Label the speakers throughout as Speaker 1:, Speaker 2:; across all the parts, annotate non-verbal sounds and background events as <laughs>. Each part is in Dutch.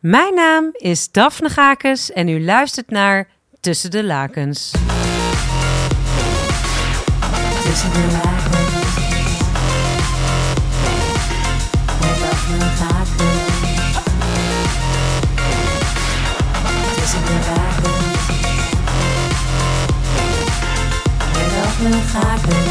Speaker 1: Mijn naam is Daphne Gakes en u luistert naar Tussen de Lakens.
Speaker 2: Tussen de lakens. Met Daphne Gakes. Tussen de lakens. Met Daphne Gakes.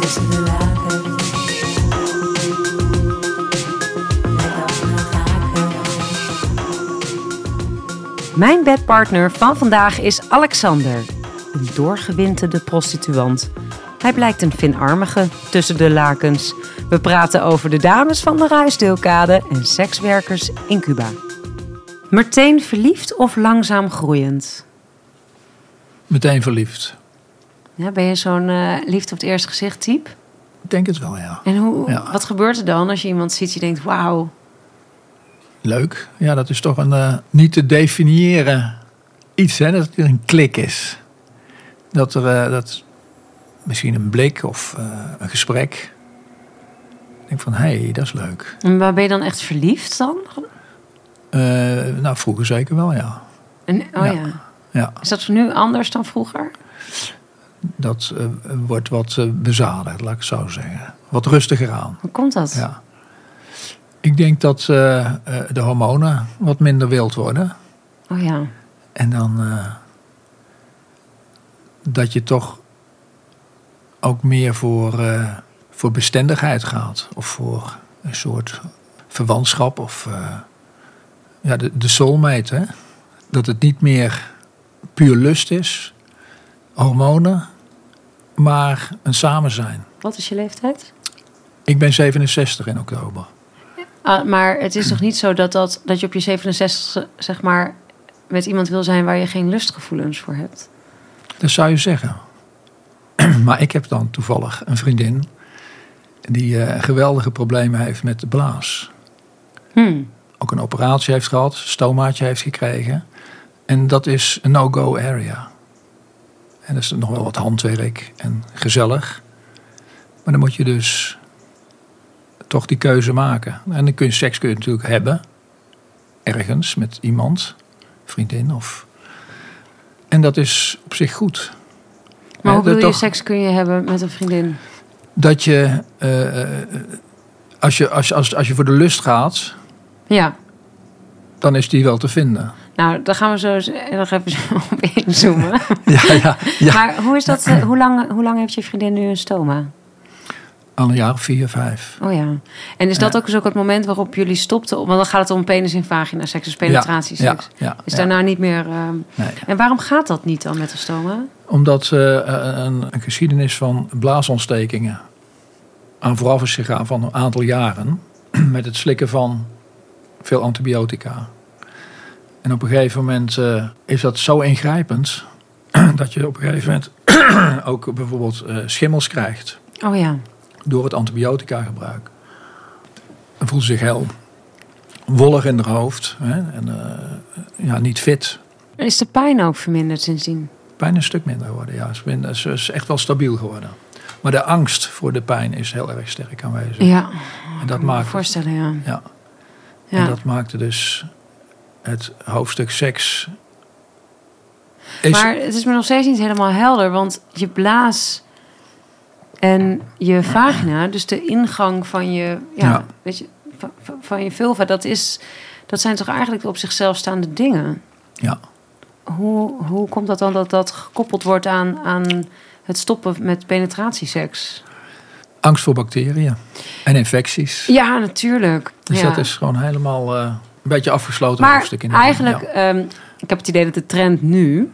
Speaker 2: Tussen de lakens. Met Daphne Gakes.
Speaker 1: Mijn bedpartner van vandaag is Alexander, een doorgewinterde prostituant. Hij blijkt een vinarmige tussen de lakens. We praten over de dames van de Ruisdeelkade en sekswerkers in Cuba. Meteen verliefd of langzaam groeiend?
Speaker 3: Meteen verliefd.
Speaker 1: Ja, ben je zo'n eh, liefde op het eerste gezicht type?
Speaker 3: Ik denk het wel, ja.
Speaker 1: En hoe,
Speaker 3: Ja.
Speaker 1: wat gebeurt er dan als je iemand ziet die denkt, wauw,
Speaker 3: Leuk. Ja, dat is toch een eh, niet te definiëren iets, hè, dat het een klik is. Dat er eh, dat misschien een blik of eh, een gesprek. Ik denk van, hé, hey, dat is leuk.
Speaker 1: en waar ben je dan echt verliefd dan?
Speaker 3: Eh, nou, vroeger zeker wel, ja.
Speaker 1: En, oh ja.
Speaker 3: Ja. Ja,
Speaker 1: Is dat nu anders dan vroeger?
Speaker 3: dat eh, wordt wat eh, bezadigd, laat ik het zo zeggen. Wat rustiger aan.
Speaker 1: Hoe komt dat?
Speaker 3: Ja. Ik denk dat eh, eh, de hormonen wat minder wild worden.
Speaker 1: Oh ja.
Speaker 3: En dan eh, dat je toch ook meer voor, eh, voor bestendigheid gaat. Of voor een soort verwantschap of eh, ja, de, de soulmate. Hè? Dat het niet meer puur lust is, hormonen, maar een samen zijn.
Speaker 1: Wat is je leeftijd?
Speaker 3: Ik ben 67 in oktober.
Speaker 1: Ah, maar het is toch niet zo dat, dat, dat je op je 67 zeg maar met iemand wil zijn waar je geen lustgevoelens voor hebt?
Speaker 3: Dat zou je zeggen. <clears throat> maar ik heb dan toevallig een vriendin die eh, geweldige problemen heeft met de blaas.
Speaker 1: Hmm.
Speaker 3: Ook een operatie heeft gehad, stomaatje heeft gekregen. En dat is een no-go area. En dat is nog wel wat handwerk en gezellig. Maar dan moet je dus toch die keuze maken. En dan kun je seks kun je natuurlijk hebben. Ergens met iemand, vriendin of. En dat is op zich goed.
Speaker 1: Maar hoe
Speaker 3: Ja, dat
Speaker 1: wil je
Speaker 3: toch-
Speaker 1: seks kun je hebben met een vriendin?
Speaker 3: dat je, eh, eh, als, je, als, je- als, als je voor de lust gaat,
Speaker 1: Ja.
Speaker 3: dan is die wel te vinden.
Speaker 1: Nou, daar gaan we zo eens- eh, nog even zo <laughs> op inzoomen.
Speaker 3: Ja, ja, ja.
Speaker 1: Maar hoe is dat? eh, Hoe lang, hoe lang heeft je vriendin nu een stoma?
Speaker 3: Al een jaar of vier, vijf.
Speaker 1: Oh ja. En is dat ook eens ook het moment waarop jullie stopten? Want dan gaat het om penis in vagina seks, dus penetratie
Speaker 3: Ja,
Speaker 1: seks.
Speaker 3: ja,
Speaker 1: Is
Speaker 3: ja.
Speaker 1: daarna niet meer. ehm,
Speaker 3: Nee.
Speaker 1: En waarom gaat dat niet dan met een stoma?
Speaker 3: Omdat eh, een, een geschiedenis van blaasontstekingen aan vooraf is gegaan van een aantal jaren. <clears throat> Met het slikken van veel antibiotica. En op een gegeven moment eh, is dat zo ingrijpend. <clears throat> dat je op een gegeven moment <clears throat> ook bijvoorbeeld eh, schimmels krijgt.
Speaker 1: Oh ja.
Speaker 3: door het antibiotica gebruik. En voelde zich heel wollig in haar hoofd hè, en eh, ja, niet fit.
Speaker 1: Is de pijn ook verminderd sindsdien?
Speaker 3: Pijn een stuk minder geworden, ja. Ze is minder- Ze is echt wel stabiel geworden. Maar de angst voor de pijn is heel erg sterk aanwezig.
Speaker 1: Ja.
Speaker 3: en, dat
Speaker 1: Kan me
Speaker 3: maakt,
Speaker 1: voorstellen, ja.
Speaker 3: ja,
Speaker 1: ja.
Speaker 3: en dat maakte dus het hoofdstuk seks... Is,
Speaker 1: Maar het is me nog steeds niet helemaal helder, want je blaas en je vagina, dus de ingang van je, ja,
Speaker 3: Ja.
Speaker 1: Weet je, van, van- van je vulva, dat, is, dat zijn toch eigenlijk op zichzelf staande dingen.
Speaker 3: ja.
Speaker 1: Hoe, hoe komt dat dan dat dat gekoppeld wordt aan, aan het stoppen met penetratieseks?
Speaker 3: Angst voor bacteriën en infecties.
Speaker 1: Ja, natuurlijk.
Speaker 3: Dus
Speaker 1: ja.
Speaker 3: dat is gewoon helemaal eh, een beetje afgesloten
Speaker 1: Maar
Speaker 3: hoofdstuk. in de zin,
Speaker 1: eigenlijk,
Speaker 3: ja.
Speaker 1: ehm, ik heb het idee dat de trend nu,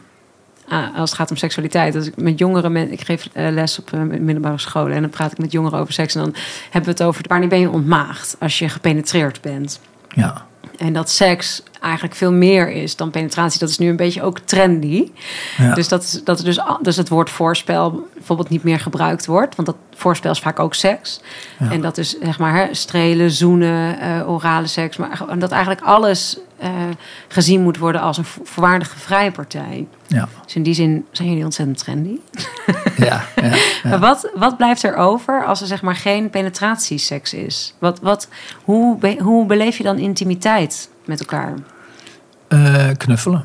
Speaker 1: ah, als het gaat om seksualiteit, als ik met jongeren, men, ik geef eh, les op eh, middelbare scholen en dan praat ik met jongeren over seks en dan hebben we het over wanneer ben je ontmaagd als je gepenetreerd bent.
Speaker 3: ja.
Speaker 1: En dat seks eigenlijk veel meer is dan penetratie. Dat is nu een beetje ook trendy.
Speaker 3: Ja.
Speaker 1: Dus, dat, is- dat is dus, a- dus het woord voorspel bijvoorbeeld niet meer gebruikt wordt. Want dat voorspel is vaak ook seks.
Speaker 3: Ja.
Speaker 1: En dat is zeg maar hè, strelen, zoenen, eh, orale seks. Maar gewoon dat eigenlijk alles eh, gezien moet worden als een vo- voorwaardige vrijpartij.
Speaker 3: Ja,
Speaker 1: Dus in die zin zijn jullie ontzettend trendy.
Speaker 3: ja, ja.
Speaker 1: Maar wat, wat blijft er over als er zeg maar geen penetratieseks is? Wat, wat, hoe, be- hoe beleef je dan intimiteit met elkaar?
Speaker 3: Eh, knuffelen.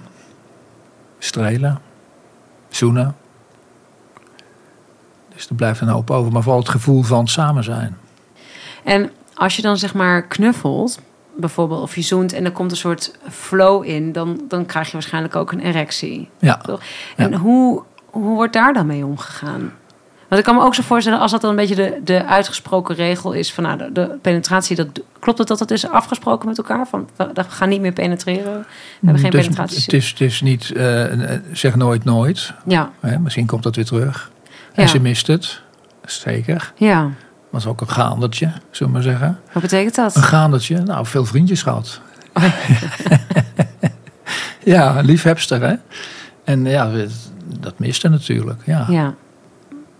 Speaker 3: Strelen. Zoenen. Dus er blijft een hoop over. Maar vooral het gevoel van samen zijn.
Speaker 1: En als je dan zeg maar knuffelt, bijvoorbeeld, of je zoent en er komt een soort flow in, dan, dan krijg je waarschijnlijk ook een erectie.
Speaker 3: Ja,
Speaker 1: Toch? En hoe, hoe wordt daar dan mee omgegaan? Want ik kan me ook zo voorstellen, als dat dan een beetje de, de uitgesproken regel is van nou, de, de penetratie, dat, klopt het dat dat is afgesproken met elkaar? Van we, we gaan niet meer penetreren, we hebben geen
Speaker 3: Dus
Speaker 1: penetratie.
Speaker 3: Het is, het is niet, eh, eh, zeg nooit nooit.
Speaker 1: Ja,
Speaker 3: Hè? Misschien komt dat weer terug.
Speaker 1: Ja.
Speaker 3: En ze mist het. Zeker.
Speaker 1: ja.
Speaker 3: Was ook een gaandertje, zullen we maar zeggen.
Speaker 1: Wat betekent dat?
Speaker 3: Een gaandertje. Nou, veel vriendjes gehad. <laughs> ja, een liefhebster, hè. En ja, het- dat miste natuurlijk. Ja.
Speaker 1: Ja.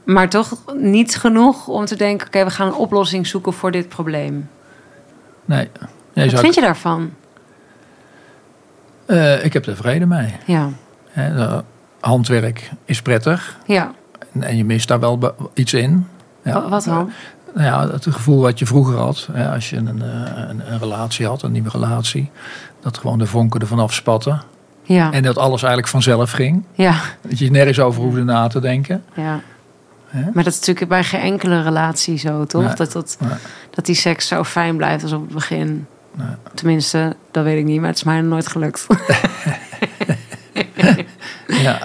Speaker 1: Maar toch niet genoeg om te denken: oké, we gaan een oplossing zoeken voor dit probleem.
Speaker 3: Nee. nee
Speaker 1: Wat
Speaker 3: zou
Speaker 1: vind
Speaker 3: ik,
Speaker 1: je daarvan?
Speaker 3: eh, ik heb er vrede mee.
Speaker 1: Ja.
Speaker 3: Hè, eh, handwerk is prettig.
Speaker 1: Ja.
Speaker 3: En, en je mist daar wel be- iets in. Ja.
Speaker 1: Wa- Wat dan?
Speaker 3: Nou ja, het gevoel wat je vroeger had, hè, als je een, eh, een, een relatie had, een nieuwe relatie, dat gewoon de vonken ervan afspatten.
Speaker 1: Ja.
Speaker 3: Eh, En dat alles eigenlijk vanzelf ging.
Speaker 1: Ja.
Speaker 3: Dat je nergens over hoefde na te denken.
Speaker 1: ja.
Speaker 3: Hè?
Speaker 1: Maar dat is natuurlijk bij geen enkele relatie zo, toch?
Speaker 3: Nee.
Speaker 1: Dat, dat,
Speaker 3: Nee.
Speaker 1: dat die seks zo fijn blijft als op het begin.
Speaker 3: Nee.
Speaker 1: Tenminste, dat weet ik niet, maar het is mij nog nooit gelukt. <laughs>
Speaker 3: Ja.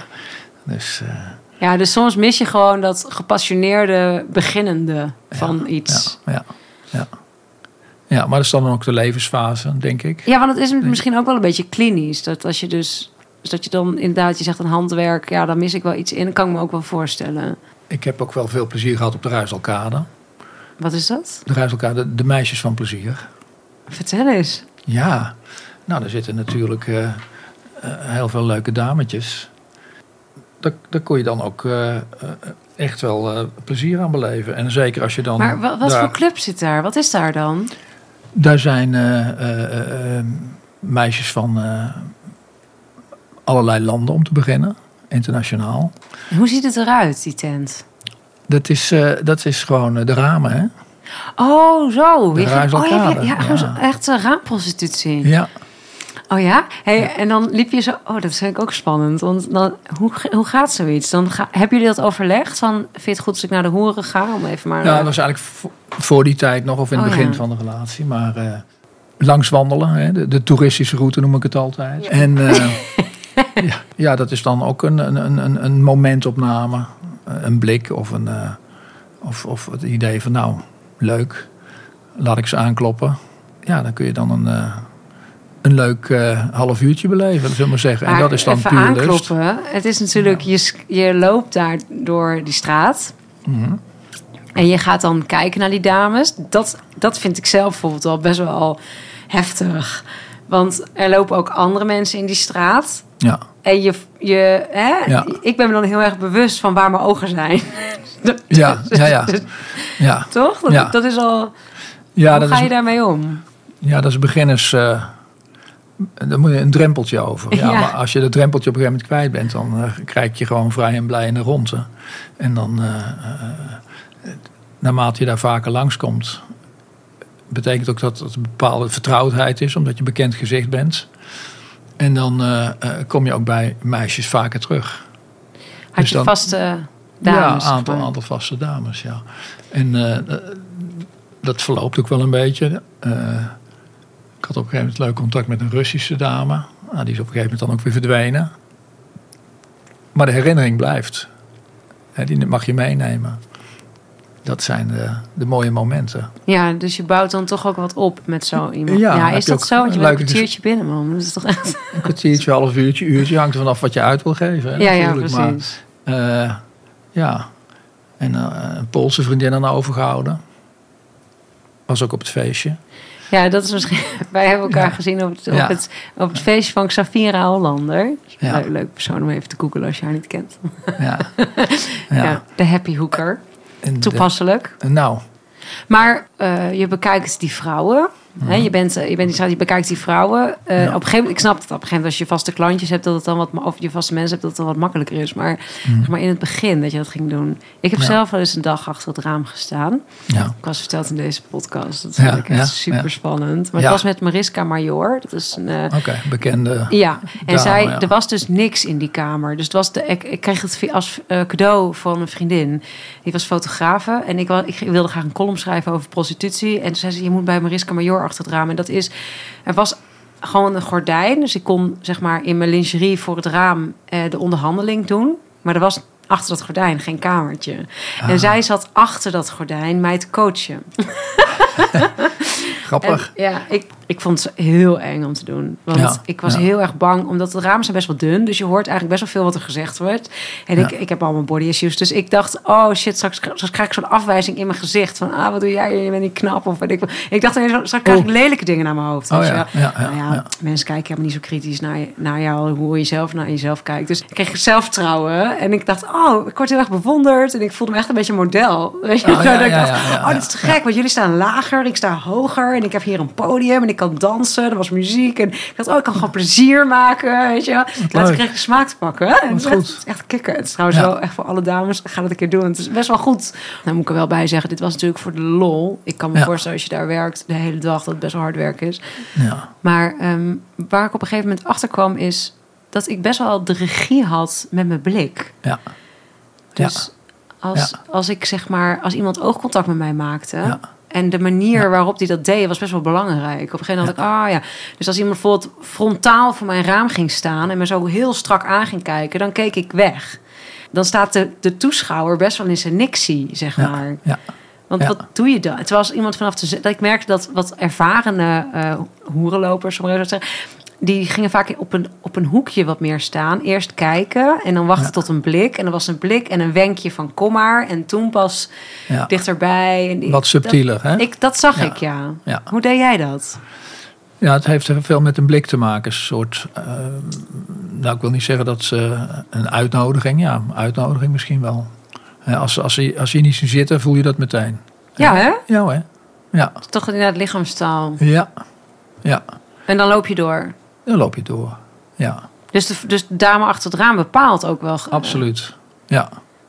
Speaker 3: Dus, eh,
Speaker 1: ja, dus soms mis je gewoon dat gepassioneerde beginnende van iets.
Speaker 3: ja, ja, ja. ja, maar dat is dan ook de levensfase, denk ik.
Speaker 1: Ja, want het is misschien ook wel een beetje klinisch. Dat als je dus. Dus dat je dan inderdaad, je zegt een handwerk, ja, dan mis ik wel iets in. Dat kan ik me ook wel voorstellen.
Speaker 3: Ik heb ook wel veel plezier gehad op de Ruiselkade.
Speaker 1: Wat is dat?
Speaker 3: De Ruiselkade, de meisjes van plezier.
Speaker 1: Vertel eens.
Speaker 3: Ja, nou, daar zitten natuurlijk eh, eh, heel veel leuke dametjes. Daar, daar kon je dan ook eh, eh, echt wel eh, plezier aan beleven. En zeker als je dan.
Speaker 1: Maar wa- wat
Speaker 3: daar,
Speaker 1: voor club zit daar? Wat is daar dan?
Speaker 3: daar zijn eh, eh, eh, meisjes van eh, allerlei landen om te beginnen, internationaal.
Speaker 1: En Hoe ziet het eruit, die tent?
Speaker 3: Dat is, eh, dat is gewoon eh, de ramen, hè?
Speaker 1: Oh, zo.
Speaker 3: De
Speaker 1: Je gaat- oh, ja, ja,
Speaker 3: Rijkselkade,
Speaker 1: ja, gewoon zo-
Speaker 3: ja.
Speaker 1: echt een raamprostitutie.
Speaker 3: Ja.
Speaker 1: Oh ja? Hey, En dan liep je zo... Oh, dat vind ik ook spannend. Want dan, hoe, ge- hoe gaat zoiets? Dan ga, hebben jullie dat overlegd? Van, vind je het goed als ik naar de hoeren ga? Om even maar... eh,
Speaker 3: Ja, Nou, dat was eigenlijk vo- voor die tijd nog, of in het
Speaker 1: Oh,
Speaker 3: begin
Speaker 1: ja.
Speaker 3: van de relatie. Maar eh, langs wandelen, hè, de, de toeristische route noem ik het altijd. En eh,
Speaker 1: <laughs>
Speaker 3: ja, ja, dat is dan ook een, een, een- een, een momentopname, een blik of, een, eh, of, of het idee van nou, leuk, laat ik ze aankloppen. Ja, dan kun je dan een, eh, een leuk eh, half uurtje beleven, zullen we maar zeggen. en
Speaker 1: Maar
Speaker 3: dat is dan
Speaker 1: even
Speaker 3: puur lust.
Speaker 1: aankloppen. Het is natuurlijk, je, s- je loopt daar door die straat.
Speaker 3: Mhm.
Speaker 1: En je gaat dan kijken naar die dames. Dat, dat vind ik zelf bijvoorbeeld al best wel heftig. Want er lopen ook andere mensen in die straat.
Speaker 3: Ja,
Speaker 1: En je, je, hè?
Speaker 3: Ja.
Speaker 1: ik ben me dan heel erg bewust van waar mijn ogen zijn.
Speaker 3: <laughs>
Speaker 1: Dus
Speaker 3: ja, ja,
Speaker 1: <laughs>
Speaker 3: ja. ja.
Speaker 1: Toch? Dat,
Speaker 3: Ja.
Speaker 1: dat is al.
Speaker 3: ja
Speaker 1: hoe
Speaker 3: dat
Speaker 1: ga
Speaker 3: is
Speaker 1: je daarmee om?
Speaker 3: Ja, dat is beginners. eh, daar moet je een drempeltje over. Ja,
Speaker 1: Ja.
Speaker 3: Maar als je dat drempeltje op een gegeven moment kwijt bent, dan eh, krijg je gewoon vrij en blij in de ronde. En dan, eh, eh, naarmate je daar vaker langskomt, betekent ook dat het een bepaalde vertrouwdheid is, omdat je bekend gezicht bent. En dan eh, eh, kom je ook bij meisjes vaker terug.
Speaker 1: Had
Speaker 3: Dus
Speaker 1: je
Speaker 3: dan-
Speaker 1: vaste dames?
Speaker 3: ja, een aantal,
Speaker 1: gewoon?
Speaker 3: aantal vaste dames, ja. En eh, eh, dat verloopt ook wel een beetje. Eh, ik had op een gegeven moment leuk contact met een Russische dame. Nou, die is op een gegeven moment dan ook weer verdwenen. Maar de herinnering blijft. Hè, die mag je meenemen. Dat zijn de, de mooie momenten.
Speaker 1: Ja, dus je bouwt dan toch ook wat op met zo iemand.
Speaker 3: Ja,
Speaker 1: Ja,
Speaker 3: heb
Speaker 1: is
Speaker 3: je
Speaker 1: dat
Speaker 3: ook
Speaker 1: zo? Want je bent een
Speaker 3: leuke ges-
Speaker 1: kwartiertje binnen, man. Dat is toch echt...
Speaker 3: Een kwartiertje, half uurtje, uurtje. Hangt er vanaf wat je uit wil geven. Hè,
Speaker 1: Ja, ja,
Speaker 3: natuurlijk.
Speaker 1: precies.
Speaker 3: Maar, eh, ja. En eh, een Poolse vriendin aan overgehouden. Was ook op het feestje.
Speaker 1: Ja, dat is misschien. <laughs> Wij hebben elkaar gezien op het, op,
Speaker 3: Ja.
Speaker 1: het, op het feestje van Xavira Hollander. Dat is een
Speaker 3: Ja.
Speaker 1: leuk, leuk persoon om even te googlen als je haar niet kent. <laughs>
Speaker 3: Ja.
Speaker 1: Ja.
Speaker 3: ja.
Speaker 1: de happy hooker.
Speaker 3: En de-
Speaker 1: Toepasselijk.
Speaker 3: nou,
Speaker 1: Maar eh, je bekijkt die vrouwen. Hè, je, bent, eh, je bent die straat, je bekijkt die vrouwen. Eh, op
Speaker 3: Ja.
Speaker 1: een gegeven moment, ik snap dat op een gegeven moment als je vaste klantjes hebt, dat het dan wat, ma- of je vaste mensen hebt, dat het dan wat makkelijker is. Maar, zeg maar in het begin dat je dat ging doen. Ik heb
Speaker 3: Mhm. Ja.
Speaker 1: zelf wel eens een dag achter het raam gestaan.
Speaker 3: ja.
Speaker 1: Ik was verteld in deze podcast. Dat
Speaker 3: Ja,
Speaker 1: vind ik echt
Speaker 3: ja,
Speaker 1: super
Speaker 3: ja.
Speaker 1: spannend. Maar
Speaker 3: Ja.
Speaker 1: het was met Mariska Major. Dat is een. eh,
Speaker 3: Oké, bekende.
Speaker 1: ja, en
Speaker 3: Dame,
Speaker 1: zij,
Speaker 3: ja.
Speaker 1: er was dus niks in die kamer. Dus het was de, ik, ik kreeg het via- als eh, cadeau van een vriendin. Die was fotografe. En ik, wa- ik wilde graag een column schrijven over prostitutie. En toen zei ze, je moet bij Mariska Major achter het raam. En dat is, er was gewoon een gordijn. Dus ik kon zeg maar in mijn lingerie voor het raam eh, de onderhandeling doen. Maar er was achter dat gordijn geen kamertje. En zij zat achter dat gordijn mij te coachen. En,
Speaker 3: Grappig.
Speaker 1: ja, ik, ik vond het heel eng om te doen. Want
Speaker 3: Ja,
Speaker 1: ik was
Speaker 3: ja.
Speaker 1: heel erg bang, omdat de ramen zijn best wel dun. Dus je hoort eigenlijk best wel veel wat er gezegd wordt. En ik,
Speaker 3: Ja.
Speaker 1: ik heb al mijn body issues. Dus ik dacht, oh shit, straks, straks krijg ik zo'n afwijzing in mijn gezicht. Van, ah, wat doe jij? Je bent niet knap. Of, weet ik, wat. ik dacht, ineens, straks krijg ik lelijke dingen naar mijn hoofd.
Speaker 3: Oh
Speaker 1: weet je
Speaker 3: ja,
Speaker 1: wel.
Speaker 3: ja, ja,
Speaker 1: Nou
Speaker 3: ja.
Speaker 1: Mensen kijken helemaal niet zo kritisch naar, je- naar jou, hoe je zelf naar jezelf kijkt. Dus ik kreeg zelfvertrouwen. En ik dacht, oh, ik word heel erg bewonderd. En ik voelde me echt een beetje een model. Weet je?
Speaker 3: Oh, ja,
Speaker 1: dat ik
Speaker 3: ja,
Speaker 1: dacht,
Speaker 3: ja, ja,
Speaker 1: oh, dit is te gek, want jullie staan lager, ik sta hoger. En ik heb hier een podium en ik kan dansen. Er was muziek. En ik dacht, oh, ik kan gewoon plezier maken. Weet je wel. Later
Speaker 3: leuk.
Speaker 1: kreeg ik de smaak te pakken. En het is echt-
Speaker 3: goed.
Speaker 1: het is echt kicken. Het is trouwens
Speaker 3: Ja.
Speaker 1: wel echt voor alle dames. Ga dat een keer doen. Het is best wel goed. Nou moet ik er wel bij zeggen, dit was natuurlijk voor de lol. Ik kan me
Speaker 3: Ja.
Speaker 1: voorstellen als je daar werkt de hele dag, dat het best wel hard werk is.
Speaker 3: Ja.
Speaker 1: Maar ehm, waar ik op een gegeven moment achter kwam is dat ik best wel de regie had met mijn blik.
Speaker 3: Ja.
Speaker 1: Dus Als, als ik zeg maar, als iemand oogcontact met mij maakte.
Speaker 3: Ja.
Speaker 1: En de manier waarop hij dat deed was best wel belangrijk. Op een gegeven moment had ik, ah ja. Dus als iemand bijvoorbeeld frontaal voor mijn raam ging staan. en me zo heel strak aan ging kijken, dan keek ik weg. Dan staat de, de toeschouwer best wel in zijn nictie, zeg
Speaker 3: Ja.
Speaker 1: maar.
Speaker 3: Ja.
Speaker 1: Want
Speaker 3: Ja.
Speaker 1: wat doe je dan? Terwijl als iemand vanaf de... z- Dat ik merkte dat wat ervarene eh, hoerenlopers, om het zo te zeggen... die gingen vaak op een, op een hoekje wat meer staan. Eerst kijken en dan wachten
Speaker 3: Ja.
Speaker 1: tot een blik. En dan was een blik en een wenkje van kom maar. En toen pas
Speaker 3: ja.
Speaker 1: dichterbij. En die-
Speaker 3: Wat subtieler, hè?
Speaker 1: Dat, ik, dat zag
Speaker 3: Ja.
Speaker 1: ik, ja.
Speaker 3: Ja.
Speaker 1: Hoe deed jij dat?
Speaker 3: Ja, het heeft veel met een blik te maken. Een soort, eh, nou ik wil niet zeggen dat ze een uitnodiging, ja, een uitnodiging misschien wel. Hè, Als, als, je, als je niet ziet zitten, voel je dat meteen.
Speaker 1: Ja, hè?
Speaker 3: Ja hè? Ja,
Speaker 1: Toch inderdaad lichaamstaal.
Speaker 3: ja, ja.
Speaker 1: En dan loop je door.
Speaker 3: Dan loop je door. Ja,
Speaker 1: Dus de, dus de dame achter het raam bepaalt ook wel.
Speaker 3: absoluut. Ja.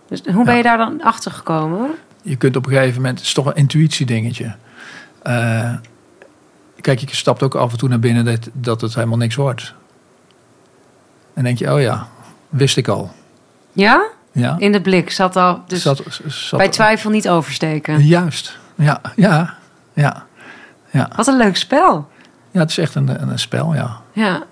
Speaker 1: Dus hoe ben je daar dan achter gekomen?
Speaker 3: Je kunt op een gegeven moment, het is toch een intuïtie dingetje. Eh, kijk, je stapt ook af en toe naar binnen dat, dat het helemaal niks wordt. En denk je, oh ja, wist ik al.
Speaker 1: Ja?
Speaker 3: Ja,
Speaker 1: In de blik zat al. Dus
Speaker 3: zat, zat,
Speaker 1: bij twijfel niet oversteken.
Speaker 3: Juist, ja, ja, ja.
Speaker 1: Wat een leuk spel.
Speaker 3: Ja, het is echt een, een, een spel, ja.
Speaker 1: Ja.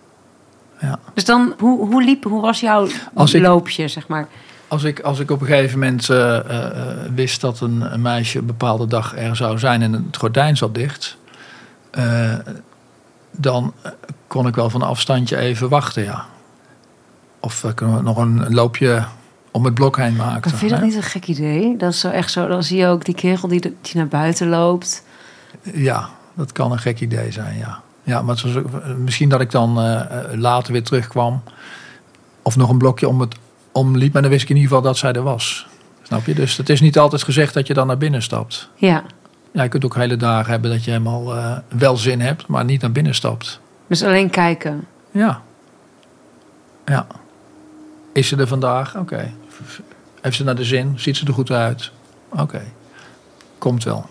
Speaker 3: Ja.
Speaker 1: Dus dan, hoe, hoe liep, hoe was jouw
Speaker 3: Als ik-
Speaker 1: loopje, zeg maar?
Speaker 3: Als ik, als ik op een gegeven moment eh, eh, eh, wist dat een, een meisje een bepaalde dag er zou zijn en het gordijn zat dicht, eh, dan eh, kon ik wel van een afstandje even wachten, ja. Of eh, kunnen we nog een loopje om het blok heen maken.
Speaker 1: vind je dat
Speaker 3: hè?
Speaker 1: niet een gek idee? Dat is zo echt zo, dan zie je ook die kerel die, de- die naar buiten loopt.
Speaker 3: Ja, dat kan een gek idee zijn, ja. Ja, maar het was ook- eh, misschien dat ik dan eh, eh, later weer terugkwam. Of nog een blokje om het omliep. Maar dan wist ik in ieder geval dat zij er was. Snap je? Dus het is niet altijd gezegd dat je dan naar binnen stapt.
Speaker 1: Ja.
Speaker 3: Ja, je kunt ook hele dagen hebben dat je helemaal eh, wel zin hebt, maar niet naar binnen stapt.
Speaker 1: Dus alleen kijken.
Speaker 3: Ja. Ja. Is ze er vandaag? Oké. Heeft ze naar de zin? Ziet ze er goed uit? Oké. Komt wel.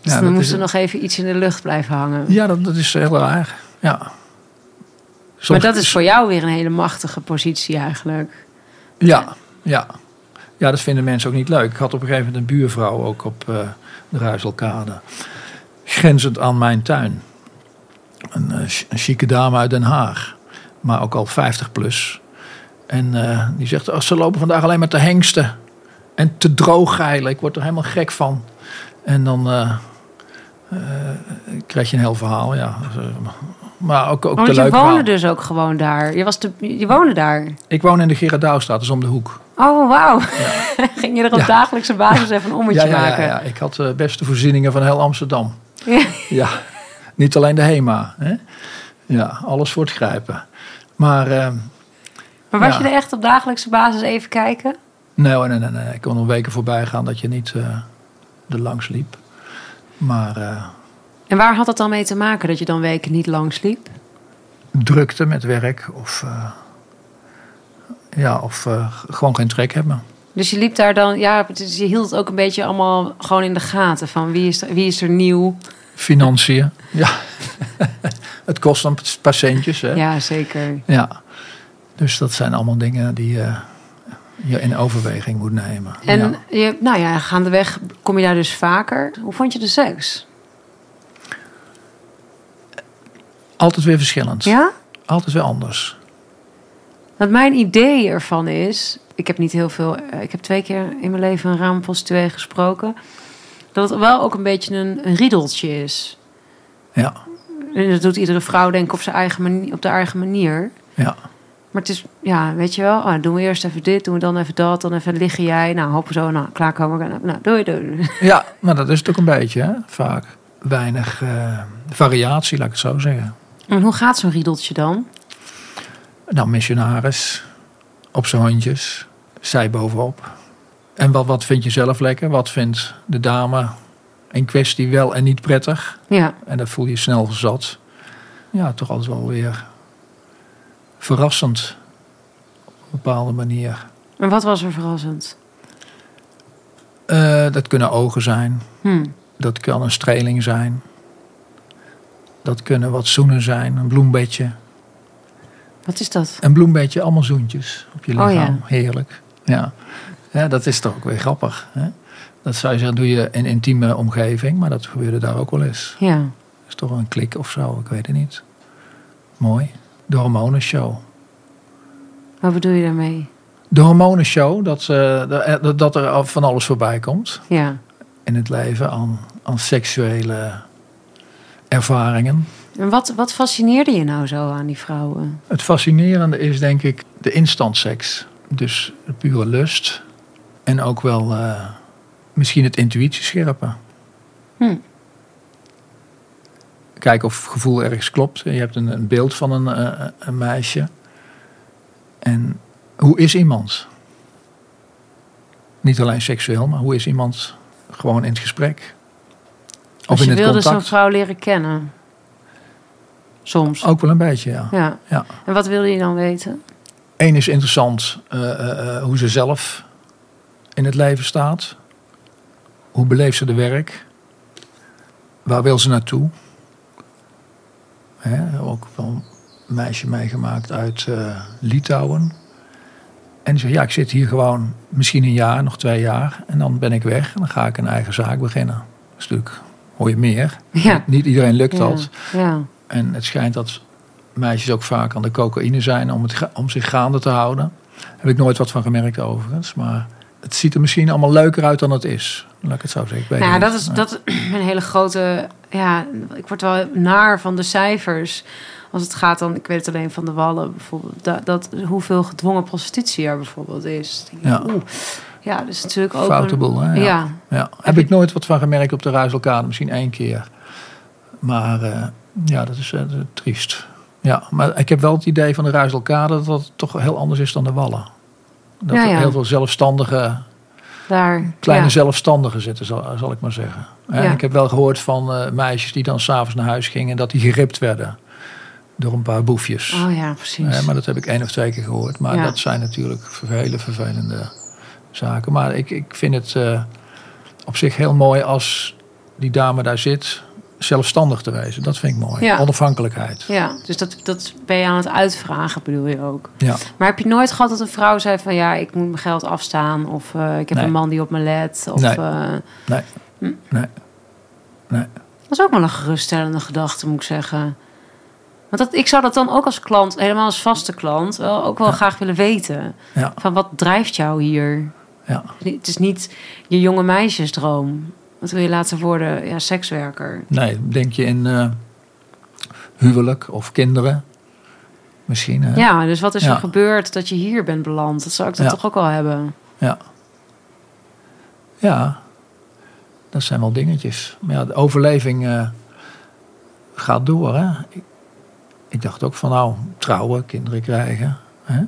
Speaker 1: Dus
Speaker 3: Ja,
Speaker 1: dan
Speaker 3: dat
Speaker 1: moest
Speaker 3: is-
Speaker 1: er nog even iets in de lucht blijven hangen.
Speaker 3: Ja, dat, dat is heel raar. Ja. Soms-
Speaker 1: maar dat is voor jou weer een hele machtige positie eigenlijk.
Speaker 3: Ja, ja. Ja, dat vinden mensen ook niet leuk. Ik had op een gegeven moment een buurvrouw ook op eh, de Ruiselkade. Grenzend aan mijn tuin. Een, eh, ch- een chique dame uit Den Haag. Maar ook al 50 plus. En eh, die zegt, oh, ze lopen vandaag alleen maar te hengsten. En te droog geilen. Ik word er helemaal gek van. En dan eh, eh, krijg je een heel verhaal, ja. Maar ook, ook
Speaker 1: Oh,
Speaker 3: te
Speaker 1: want je
Speaker 3: leuk
Speaker 1: woonde
Speaker 3: verhaal.
Speaker 1: dus ook gewoon daar. Je, was te, je woonde daar.
Speaker 3: Ik woon in de Gerardouwstraat, dus om de hoek.
Speaker 1: Oh, wauw. <laughs> Ging je er op
Speaker 3: Ja.
Speaker 1: dagelijkse basis even een ommetje
Speaker 3: ja, eh, ja,
Speaker 1: maken?
Speaker 3: Ja, ja. ik had de beste voorzieningen van heel Amsterdam.
Speaker 1: Ja.
Speaker 3: Ja, niet alleen de HEMA. Hè? Ja, alles voor het grijpen. Maar eh,
Speaker 1: Maar was
Speaker 3: Ja.
Speaker 1: je er echt op dagelijkse basis even kijken?
Speaker 3: nee, nee, nee, nee. Ik kon nog weken voorbij gaan dat je niet eh, er langs liep. Maar eh,
Speaker 1: En waar had dat dan mee te maken dat je dan weken niet lang sliep?
Speaker 3: drukte met werk of, eh, ja, of eh, gewoon geen trek hebben.
Speaker 1: Dus je liep daar dan, ja, dus je hield het ook een beetje allemaal gewoon in de gaten van wie is er, wie is er nieuw.
Speaker 3: Financiën, ja. <laughs> het kost dan een paar centjes, hè?
Speaker 1: Ja, zeker.
Speaker 3: Ja. Dus dat zijn allemaal dingen die eh, je in overweging moet nemen.
Speaker 1: En
Speaker 3: Ja.
Speaker 1: je, nou ja, gaandeweg kom je daar dus vaker. Hoe vond je de seks?
Speaker 3: Altijd weer verschillend.
Speaker 1: Ja?
Speaker 3: Altijd weer anders.
Speaker 1: Want mijn idee ervan is, ik heb niet heel veel, eh, ik heb twee keer in mijn leven een raamprostituee gesproken, dat het wel ook een beetje een, een riedeltje is. <laughs>
Speaker 3: Ja,
Speaker 1: En dat doet iedere vrouw denk ik op, zijn eigen manier, op de eigen manier.
Speaker 3: ja.
Speaker 1: Maar het is, ja, weet je wel, ah, doen we eerst even dit, doen we dan even dat, dan even liggen jij, nou hopen zo, nou klaarkomen, nou doei doei. <laughs>
Speaker 3: Ja, maar dat is het ook een beetje, hè? vaak. Weinig eh, variatie, laat ik het zo zeggen.
Speaker 1: En hoe gaat zo'n riedeltje dan?
Speaker 3: Nou, missionaris, op zijn handjes, zij bovenop. En wat, wat vind je zelf lekker? Wat vindt de dame in kwestie wel en niet prettig?
Speaker 1: Ja,
Speaker 3: En dat voel je snel zat. Ja, toch altijd wel weer verrassend op een bepaalde manier.
Speaker 1: en wat was er verrassend?
Speaker 3: Eh, dat kunnen ogen zijn,
Speaker 1: Hm.
Speaker 3: dat kan een streling zijn. Dat kunnen wat zoenen zijn, een bloembedje.
Speaker 1: Wat is dat?
Speaker 3: Een bloembedje, allemaal zoentjes op je
Speaker 1: Oh,
Speaker 3: lichaam. Heerlijk. Ja. ja, dat is toch ook weer grappig. Hè? Dat zou je zeggen, doe je in intieme omgeving, maar dat gebeurde daar ook wel eens.
Speaker 1: Ja.
Speaker 3: Dat is toch een klik of zo, ik weet het niet. Mooi. De hormonenshow.
Speaker 1: Wat bedoel je daarmee?
Speaker 3: De hormonenshow, dat, eh, dat, dat er van alles voorbij komt
Speaker 1: Ja.
Speaker 3: in het leven aan, aan seksuele ervaringen.
Speaker 1: En wat, wat fascineerde je nou zo aan die vrouwen?
Speaker 3: Het fascinerende is denk ik de instantseks. Dus de pure lust. En ook wel eh, misschien het intuïtie scherpen.
Speaker 1: Hm.
Speaker 3: Kijken of gevoel ergens klopt. Je hebt een, een beeld van een, eh, een meisje. En hoe is iemand? Niet alleen seksueel, maar hoe is iemand gewoon in het gesprek? Of
Speaker 1: Als
Speaker 3: in
Speaker 1: je
Speaker 3: het
Speaker 1: wilde zo'n
Speaker 3: contact?
Speaker 1: vrouw leren kennen. Soms.
Speaker 3: Ook wel een beetje, ja.
Speaker 1: Ja.
Speaker 3: Ja.
Speaker 1: En wat wilde je dan weten?
Speaker 3: Eén is interessant eh, eh, eh, hoe ze zelf in het leven staat. Hoe beleeft ze de werk? Waar wil ze naartoe? Hè, ook wel een meisje meegemaakt uit eh, Litouwen. En die zei, ja, ik zit hier gewoon misschien een jaar, nog twee jaar. En dan ben ik weg en dan ga ik een eigen zaak beginnen. Dat is natuurlijk, hoor je meer.
Speaker 1: Ja.
Speaker 3: Niet iedereen lukt dat.
Speaker 1: Ja. ja.
Speaker 3: En het schijnt dat meisjes ook vaak aan de cocaïne zijn om, het, ga- om zich gaande te houden. Daar heb ik nooit wat van gemerkt overigens. Maar het ziet er misschien allemaal leuker uit dan het is. Laat ik het zo zeggen. Ik weet
Speaker 1: Nou ja, dat
Speaker 3: het niet.
Speaker 1: is,
Speaker 3: Nee.
Speaker 1: dat is een hele grote. Ja, ik word wel naar van de cijfers. Als het gaat dan, ik weet het alleen van de wallen bijvoorbeeld. Dat, dat, hoeveel gedwongen prostitutie er bijvoorbeeld is. Dan denk ik,
Speaker 3: Ja.
Speaker 1: oeh. ja, dus natuurlijk ook.
Speaker 3: Foute
Speaker 1: een-
Speaker 3: boel, hè?
Speaker 1: Ja.
Speaker 3: Ja. Ja. Heb ik nooit wat van gemerkt op de Ruiselkade. Misschien één keer. Maar eh, ja, dat is eh, triest. Ja, maar ik heb wel het idee van de Ruiselkade dat het toch heel anders is dan de Wallen. Dat
Speaker 1: Ja, ja.
Speaker 3: er heel veel zelfstandige
Speaker 1: daar.
Speaker 3: kleine
Speaker 1: ja.
Speaker 3: zelfstandigen zitten, zal, zal ik maar zeggen. Hè,
Speaker 1: Ja.
Speaker 3: Ik heb wel gehoord van eh, meisjes die dan s'avonds naar huis gingen... en dat die geript werden door een paar boefjes.
Speaker 1: Oh ja, precies.
Speaker 3: Hè, maar dat heb ik één of twee keer gehoord. Maar
Speaker 1: Ja.
Speaker 3: dat zijn natuurlijk hele vervelende zaken. Maar ik, ik vind het eh, op zich heel mooi als die dame daar zit... zelfstandig te wezen. Dat vind ik mooi.
Speaker 1: Ja.
Speaker 3: Onafhankelijkheid.
Speaker 1: Ja, dus dat, dat ben je aan het uitvragen, bedoel je ook.
Speaker 3: Ja.
Speaker 1: Maar heb je nooit gehad dat een vrouw zei van ja, ik moet mijn geld afstaan of eh, ik heb
Speaker 3: Nee.
Speaker 1: een man die op me let? Of,
Speaker 3: Nee.
Speaker 1: eh,
Speaker 3: Nee. Nee. Nee.
Speaker 1: dat is ook wel een geruststellende gedachte, moet ik zeggen. Want dat, ik zou dat dan ook als klant, helemaal als vaste klant, wel, ook wel graag willen weten.
Speaker 3: Ja.
Speaker 1: Van wat drijft jou hier?
Speaker 3: Ja.
Speaker 1: Het is niet je jonge meisjesdroom. Wat wil je laten worden? Ja, sekswerker.
Speaker 3: Nee, denk je in eh, huwelijk of kinderen? Misschien. hè?
Speaker 1: Ja, dus wat is
Speaker 3: Ja.
Speaker 1: er gebeurd dat je hier bent beland? Dat zou ik dan
Speaker 3: Ja.
Speaker 1: toch ook wel hebben.
Speaker 3: Ja. Dat zijn wel dingetjes. Maar ja, de overleving eh, gaat door. Hè? Ik, ik dacht ook van nou, trouwen, kinderen krijgen. Hè?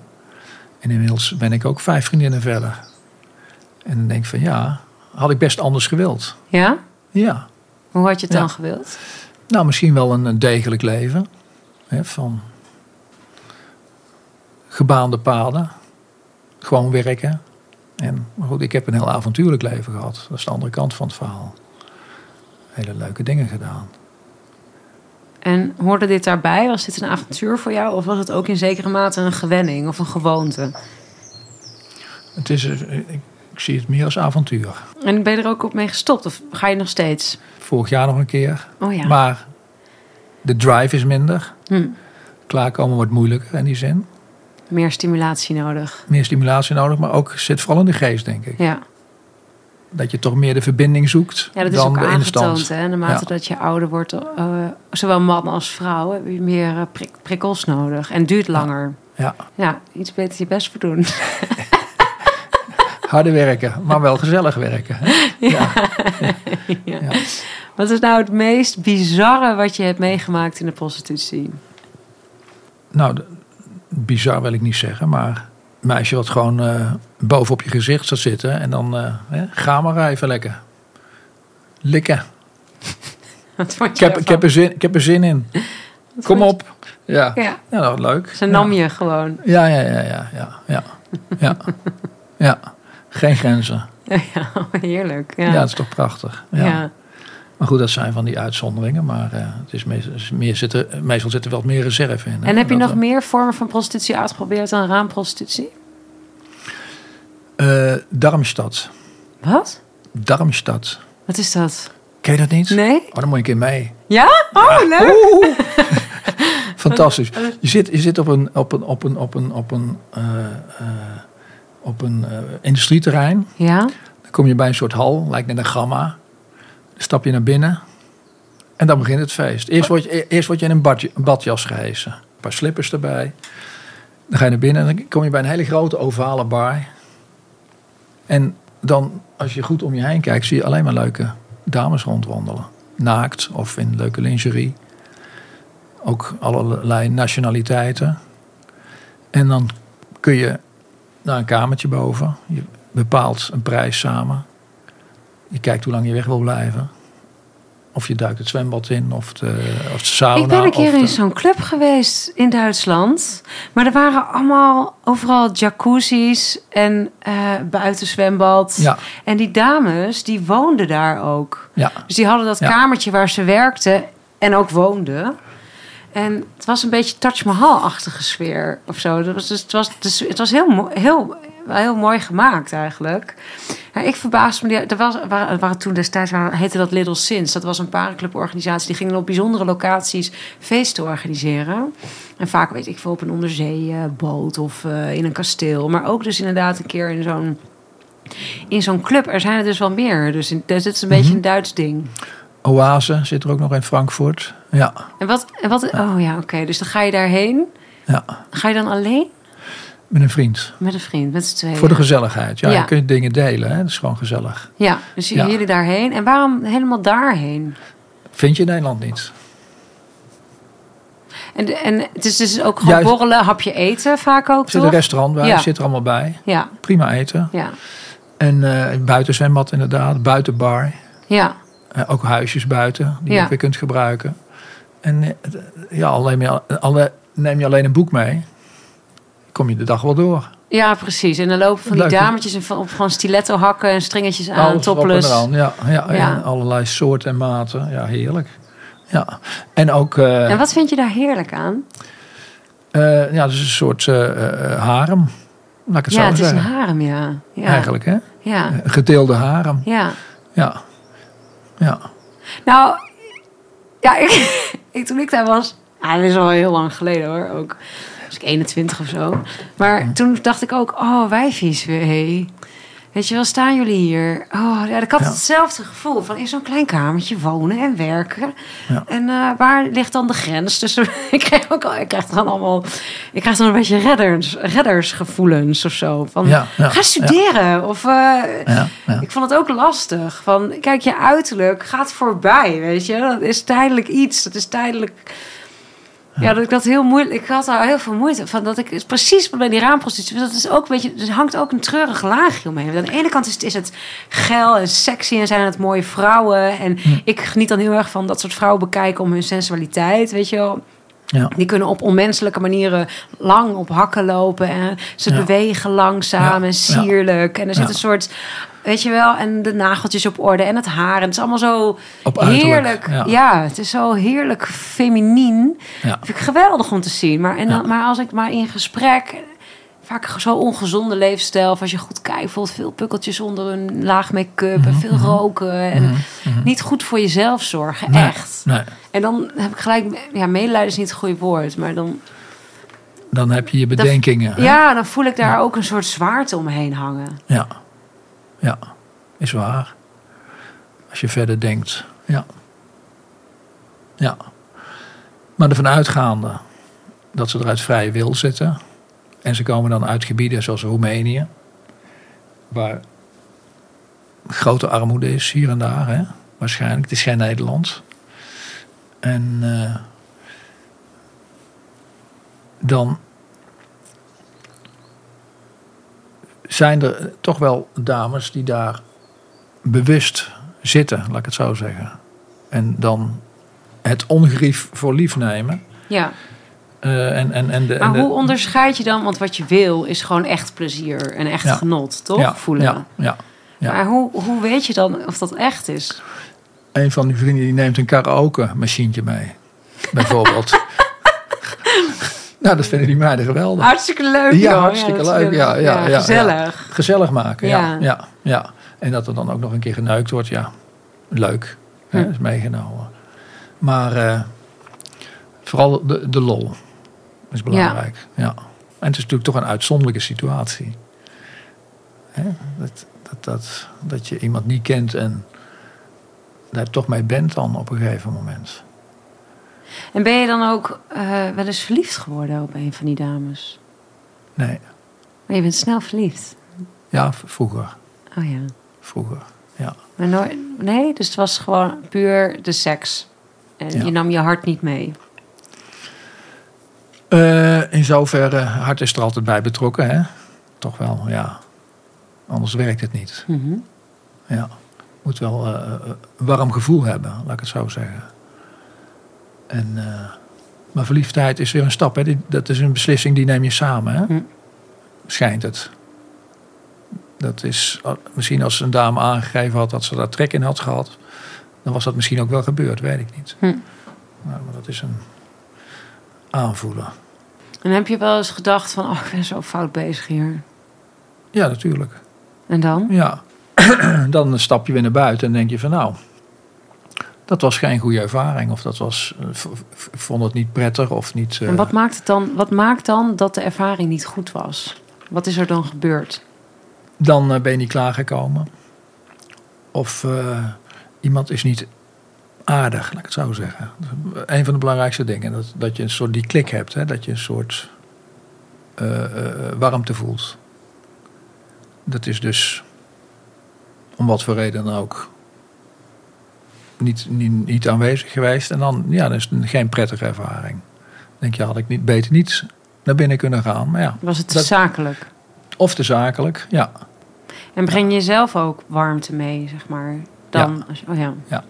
Speaker 3: En inmiddels ben ik ook vijf vriendinnen verder. En dan denk ik van ja, had ik best anders gewild.
Speaker 1: Ja?
Speaker 3: Ja.
Speaker 1: Hoe had je het
Speaker 3: Ja.
Speaker 1: dan gewild?
Speaker 3: Nou, misschien wel een een degelijk leven. Hè, van gebaande paden. Gewoon werken. En maar goed, ik heb een heel avontuurlijk leven gehad. Dat is de andere kant van het verhaal. Hele leuke dingen gedaan.
Speaker 1: En hoorde dit daarbij? Was dit een avontuur voor jou? Of was het ook in zekere mate een gewenning of een gewoonte?
Speaker 3: Het is, eh, ik, ik zie het meer als avontuur.
Speaker 1: En ben je er ook op mee gestopt? Of ga je nog steeds?
Speaker 3: Vorig jaar nog een keer.
Speaker 1: Oh ja.
Speaker 3: Maar de drive is minder.
Speaker 1: Hm.
Speaker 3: Klaarkomen wordt moeilijker in die zin.
Speaker 1: Meer stimulatie nodig.
Speaker 3: Meer stimulatie nodig, maar ook zit vooral in de geest, denk ik.
Speaker 1: Ja,
Speaker 3: Dat je toch meer de verbinding zoekt
Speaker 1: ja dat is
Speaker 3: dan
Speaker 1: ook
Speaker 3: de
Speaker 1: aangetoond.
Speaker 3: instantie.
Speaker 1: Hè? Naarmate
Speaker 3: Ja.
Speaker 1: dat je ouder wordt, eh, zowel man als vrouw, heb je meer eh, prik- prikkels nodig. En duurt langer.
Speaker 3: Ja.
Speaker 1: Ja, iets beter je best voor
Speaker 3: <laughs>
Speaker 1: doen.
Speaker 3: Harder werken, maar wel gezellig werken. hè?
Speaker 1: Ja.
Speaker 3: Ja.
Speaker 1: Wat is nou het meest bizarre wat je hebt meegemaakt in de prostitutie?
Speaker 3: Nou, d- bizar wil ik niet zeggen, maar een meisje wat gewoon eh, bovenop je gezicht zat zitten en dan eh, hè, ga maar even lekker. Likken.
Speaker 1: Wat vond
Speaker 3: Ik
Speaker 1: je
Speaker 3: heb, ik, heb er zin, ik heb er zin in. Kom
Speaker 1: goed.
Speaker 3: op. Ja,
Speaker 1: daarvan? Ja,
Speaker 3: ja dat was leuk.
Speaker 1: ze nam je gewoon. <laughs>
Speaker 3: Ja, ja, ja, ja, ja, ja. Ja, ja. Geen grenzen.
Speaker 1: Ja, heerlijk.
Speaker 3: Ja.
Speaker 1: Ja. Ja.
Speaker 3: dat is toch prachtig. Ja. Maar goed, dat zijn van die uitzonderingen. Maar eh, het is meestal, is meer zitten, meestal zit er wel meer reserve in. hè.
Speaker 1: En heb je
Speaker 3: Dat,
Speaker 1: nog
Speaker 3: eh,
Speaker 1: meer vormen van prostitutie uitgeprobeerd dan raamprostitutie?
Speaker 3: Eh, Darmstad.
Speaker 1: Wat?
Speaker 3: Darmstad.
Speaker 1: Wat is dat?
Speaker 3: Ken je dat niet?
Speaker 1: Nee?
Speaker 3: Oh, dan moet je een keer mee.
Speaker 1: Ja? Oh, leuk!
Speaker 3: Oeh. Fantastisch. Je zit, je zit op een, op een, op een, op een, op een, eh, eh, op een eh, industrieterrein.
Speaker 1: Ja?
Speaker 3: Dan kom je bij een soort hal, lijkt net een gamma. Dan stap je naar binnen. En dan begint het feest. Eerst word je, e- eerst word je in een, badje- een badjas gehesen. Een paar slippers erbij. Dan ga je naar binnen en dan kom je bij een hele grote ovale bar. En dan, als je goed om je heen kijkt, zie je alleen maar leuke dames rondwandelen. Naakt of in leuke lingerie. Ook allerlei nationaliteiten. En dan kun je naar een kamertje boven. Je bepaalt een prijs samen. Je kijkt hoe lang je weg wil blijven. Of je duikt het zwembad in, of de, of de sauna.
Speaker 1: ik ben een
Speaker 3: of
Speaker 1: keer
Speaker 3: de-
Speaker 1: in zo'n club geweest in Duitsland. Maar er waren allemaal overal jacuzzi's en eh buitenzwembad.
Speaker 3: Ja,
Speaker 1: En die dames, die woonden daar ook.
Speaker 3: ja.
Speaker 1: Dus die hadden dat
Speaker 3: Ja.
Speaker 1: kamertje waar ze werkten en ook woonden. En het was een beetje Taj Mahal-achtige sfeer of zo. Dat was, dus, het was, dus, het was heel, mo- heel, wel heel mooi gemaakt eigenlijk. Ja, ik verbaasde me. Er was, waren, er waren toen destijds waren, heette dat Little Sins. Dat was een parencluborganisatie. Die gingen op bijzondere locaties feesten organiseren. En vaak, weet ik veel, op een onderzeeboot of eh, in een kasteel. Maar ook dus inderdaad een keer in zo'n in zo'n club. Er zijn er dus wel meer. Dus, in, dus het is een beetje een Duits ding.
Speaker 3: Oase zit er ook nog in Frankfurt. Ja,
Speaker 1: En wat, en wat oh ja, oké. Dus dan ga je daarheen.
Speaker 3: ja.
Speaker 1: Ga je dan alleen?
Speaker 3: met een vriend.
Speaker 1: Met een vriend, met z'n tweeën.
Speaker 3: Voor de gezelligheid. Ja,
Speaker 1: Ja.
Speaker 3: je kunt dingen delen. Hè? Dat is gewoon gezellig.
Speaker 1: ja, dus
Speaker 3: Ja.
Speaker 1: jullie daarheen. En waarom helemaal daarheen?
Speaker 3: Vind je in Nederland niet?
Speaker 1: En, en het is dus ook gewoon
Speaker 3: Juist.
Speaker 1: borrelen, hapje eten vaak ook,
Speaker 3: Er zit een
Speaker 1: toch?
Speaker 3: restaurant bij,
Speaker 1: Ja.
Speaker 3: zit er allemaal bij.
Speaker 1: Ja,
Speaker 3: Prima eten.
Speaker 1: ja,
Speaker 3: En eh buitenzwembad inderdaad, buitenbar.
Speaker 1: ja.
Speaker 3: Eh, ook huisjes buiten, die
Speaker 1: Ja.
Speaker 3: je ook weer kunt gebruiken. En eh, het- ja, al neem, je, al neem je alleen een boek mee, kom je de dag wel door.
Speaker 1: Ja, precies. En dan lopen van die
Speaker 3: Leuk, hè?
Speaker 1: dametjes en van, op gewoon stiletto hakken en stringetjes aan,
Speaker 3: Alles erop
Speaker 1: topless.
Speaker 3: en eraan. Ja, ja,
Speaker 1: Ja.
Speaker 3: En allerlei soorten en maten. Ja, heerlijk. Ja. En ook... eh,
Speaker 1: En wat vind je daar heerlijk aan?
Speaker 3: Eh, ja, dat is een soort eh, eh, harem. Laat ik het
Speaker 1: ja,
Speaker 3: zo
Speaker 1: het is
Speaker 3: zeggen.
Speaker 1: een harem, ja. ja.
Speaker 3: Eigenlijk, hè?
Speaker 1: Ja,
Speaker 3: Een gedeelde harem.
Speaker 1: ja.
Speaker 3: Ja. Ja.
Speaker 1: Nou, ja, ik, <laughs> ik, toen ik daar was... Ah, dat is al heel lang geleden hoor, ook. Was ik 21 of zo. Maar toen dacht ik ook, oh, wijfjes weer, hé. Weet je wel, staan jullie hier? Oh, ja, ik had
Speaker 3: Ja.
Speaker 1: hetzelfde gevoel van in zo'n klein kamertje wonen en werken.
Speaker 3: Ja.
Speaker 1: En eh, waar ligt dan de grens tussen? <laughs> ik krijg ook al, ik krijg dan allemaal, ik krijg dan een beetje redders, reddersgevoelens of zo. Van
Speaker 3: Ja, ja,
Speaker 1: ga studeren of eh,
Speaker 3: Ja, ja.
Speaker 1: ik vond het ook lastig. Van, kijk, je uiterlijk gaat voorbij, weet je. Dat is tijdelijk iets. Dat is tijdelijk... Ja, dat ik dat heel moeilijk... Ik had daar heel veel moeite van. Dat ik precies bij die raamprostitutie... Dat is ook een beetje... Er hangt ook een treurig laagje omheen. Want aan de ene kant is het, is het geil en sexy... en zijn het mooie vrouwen. En ik geniet dan heel erg van dat soort vrouwen bekijken... om hun sensualiteit, weet je wel.
Speaker 3: Ja.
Speaker 1: Die kunnen op onmenselijke manieren lang op hakken lopen. En ze
Speaker 3: Ja.
Speaker 1: bewegen langzaam
Speaker 3: Ja,
Speaker 1: en
Speaker 3: ja.
Speaker 1: sierlijk. En er zit
Speaker 3: Ja.
Speaker 1: een soort, weet je wel, en de nageltjes op orde en het haar. En het is allemaal zo
Speaker 3: Op uiterlijk,
Speaker 1: heerlijk.
Speaker 3: ja.
Speaker 1: Ja. het is zo heerlijk feminien.
Speaker 3: Ja.
Speaker 1: Vind ik geweldig om te zien. Maar, en dan,
Speaker 3: Ja.
Speaker 1: maar als ik maar in gesprek. Vaak zo'n ongezonde leefstijl. Of als je goed kijkt, bijvoorbeeld veel pukkeltjes onder een laag make-up.
Speaker 3: Mhm,
Speaker 1: En veel roken. En niet goed voor jezelf zorgen.
Speaker 3: Nee,
Speaker 1: Echt.
Speaker 3: Nee.
Speaker 1: En dan heb ik gelijk, ja, medelijden is niet het goede woord, maar dan,
Speaker 3: Dan heb je je bedenkingen. hè?
Speaker 1: ja, dan voel ik daar ook een soort zwaarte omheen hangen.
Speaker 3: Ja. Ja, is waar. Als je verder denkt. Ja. Ja. Maar ervan uitgaande dat ze er uit vrije wil zitten. En ze komen dan uit gebieden zoals Roemenië. Waar grote armoede is hier en daar. Hè? Waarschijnlijk. Het is geen Nederland. En eh, dan zijn er toch wel dames die daar bewust zitten, laat ik het zo zeggen. En dan het ongerief voor lief nemen.
Speaker 1: Ja,
Speaker 3: Eh, en, en, en de, en
Speaker 1: maar
Speaker 3: de-
Speaker 1: hoe onderscheid je dan? Want wat je wil is gewoon echt plezier en echt
Speaker 3: Ja.
Speaker 1: genot, toch?
Speaker 3: ja,
Speaker 1: Voelen.
Speaker 3: Ja, ja. ja.
Speaker 1: Maar hoe, hoe weet je dan of dat echt is?
Speaker 3: Een van die vrienden die neemt een karaoke machientje mee. Bijvoorbeeld.
Speaker 1: <laughs>
Speaker 3: nou, dat vinden die meiden geweldig.
Speaker 1: Hartstikke leuk.
Speaker 3: Ja,
Speaker 1: joh.
Speaker 3: hartstikke
Speaker 1: dat is
Speaker 3: leuk. Ja, ja, ja,
Speaker 1: gezellig.
Speaker 3: Gezellig maken, ja.
Speaker 1: Ja.
Speaker 3: ja. ja, En dat er dan ook nog een keer geneukt wordt, ja. Leuk. Hè,
Speaker 1: Hm.
Speaker 3: is meegenomen. Maar eh, vooral de, de lol is belangrijk. Ja. En het is natuurlijk toch een uitzonderlijke situatie. Hè? Dat, dat, dat, dat je iemand niet kent en daar toch mee bent dan op een gegeven moment.
Speaker 1: En ben je dan ook eh, wel eens verliefd geworden op een van die dames?
Speaker 3: Nee,
Speaker 1: Maar je bent snel verliefd.
Speaker 3: ja, v- vroeger.
Speaker 1: Oh ja.
Speaker 3: Vroeger, ja.
Speaker 1: Maar nooit, nee, dus het was gewoon puur de seks. En
Speaker 3: Ja.
Speaker 1: je nam je hart niet mee.
Speaker 3: Eh, in zoverre, hart is er altijd bij betrokken, hè? Toch wel, ja. Anders werkt het niet. Ja. Moet wel eh, eh, een warm gevoel hebben, laat ik het zo zeggen. En, eh, maar verliefdheid is weer een stap, hè? Die- dat is een beslissing die neem je samen, hè?
Speaker 1: Hm.
Speaker 3: Schijnt het. Dat is, ah, misschien als een dame aangegeven had dat ze daar trek in had gehad, dan was dat misschien ook wel gebeurd, weet ik niet.
Speaker 1: Hm.
Speaker 3: Nou, maar dat is een aanvoelen.
Speaker 1: En heb je wel eens gedacht van, oh, ik ben zo fout bezig hier.
Speaker 3: Ja, natuurlijk.
Speaker 1: En dan?
Speaker 3: Ja, <clears throat> dan stap je weer naar buiten en denk je van nou, dat was geen goede ervaring. Of dat was, eh, v- v- ik vond het niet prettig of niet... eh,
Speaker 1: En wat maakt, het dan, wat maakt dan dat de ervaring niet goed was? Wat is er dan gebeurd?
Speaker 3: Dan eh, ben je niet klaargekomen. Of eh, iemand is niet aardig, laat ik het zo zeggen. Een van de belangrijkste dingen, dat, dat je een soort die klik hebt. Hè, dat je een soort eh, eh, warmte voelt. Dat is dus, om wat voor reden dan ook, niet, niet, niet aanwezig geweest. En dan, ja, dat is een- geen prettige ervaring. Dan denk je, had ik niet, beter niet naar binnen kunnen gaan. Maar ja,
Speaker 1: Was het te
Speaker 3: Dat-
Speaker 1: zakelijk?
Speaker 3: of te zakelijk, ja.
Speaker 1: En breng je zelf ook warmte mee, zeg maar? Dan, als je- oh ja.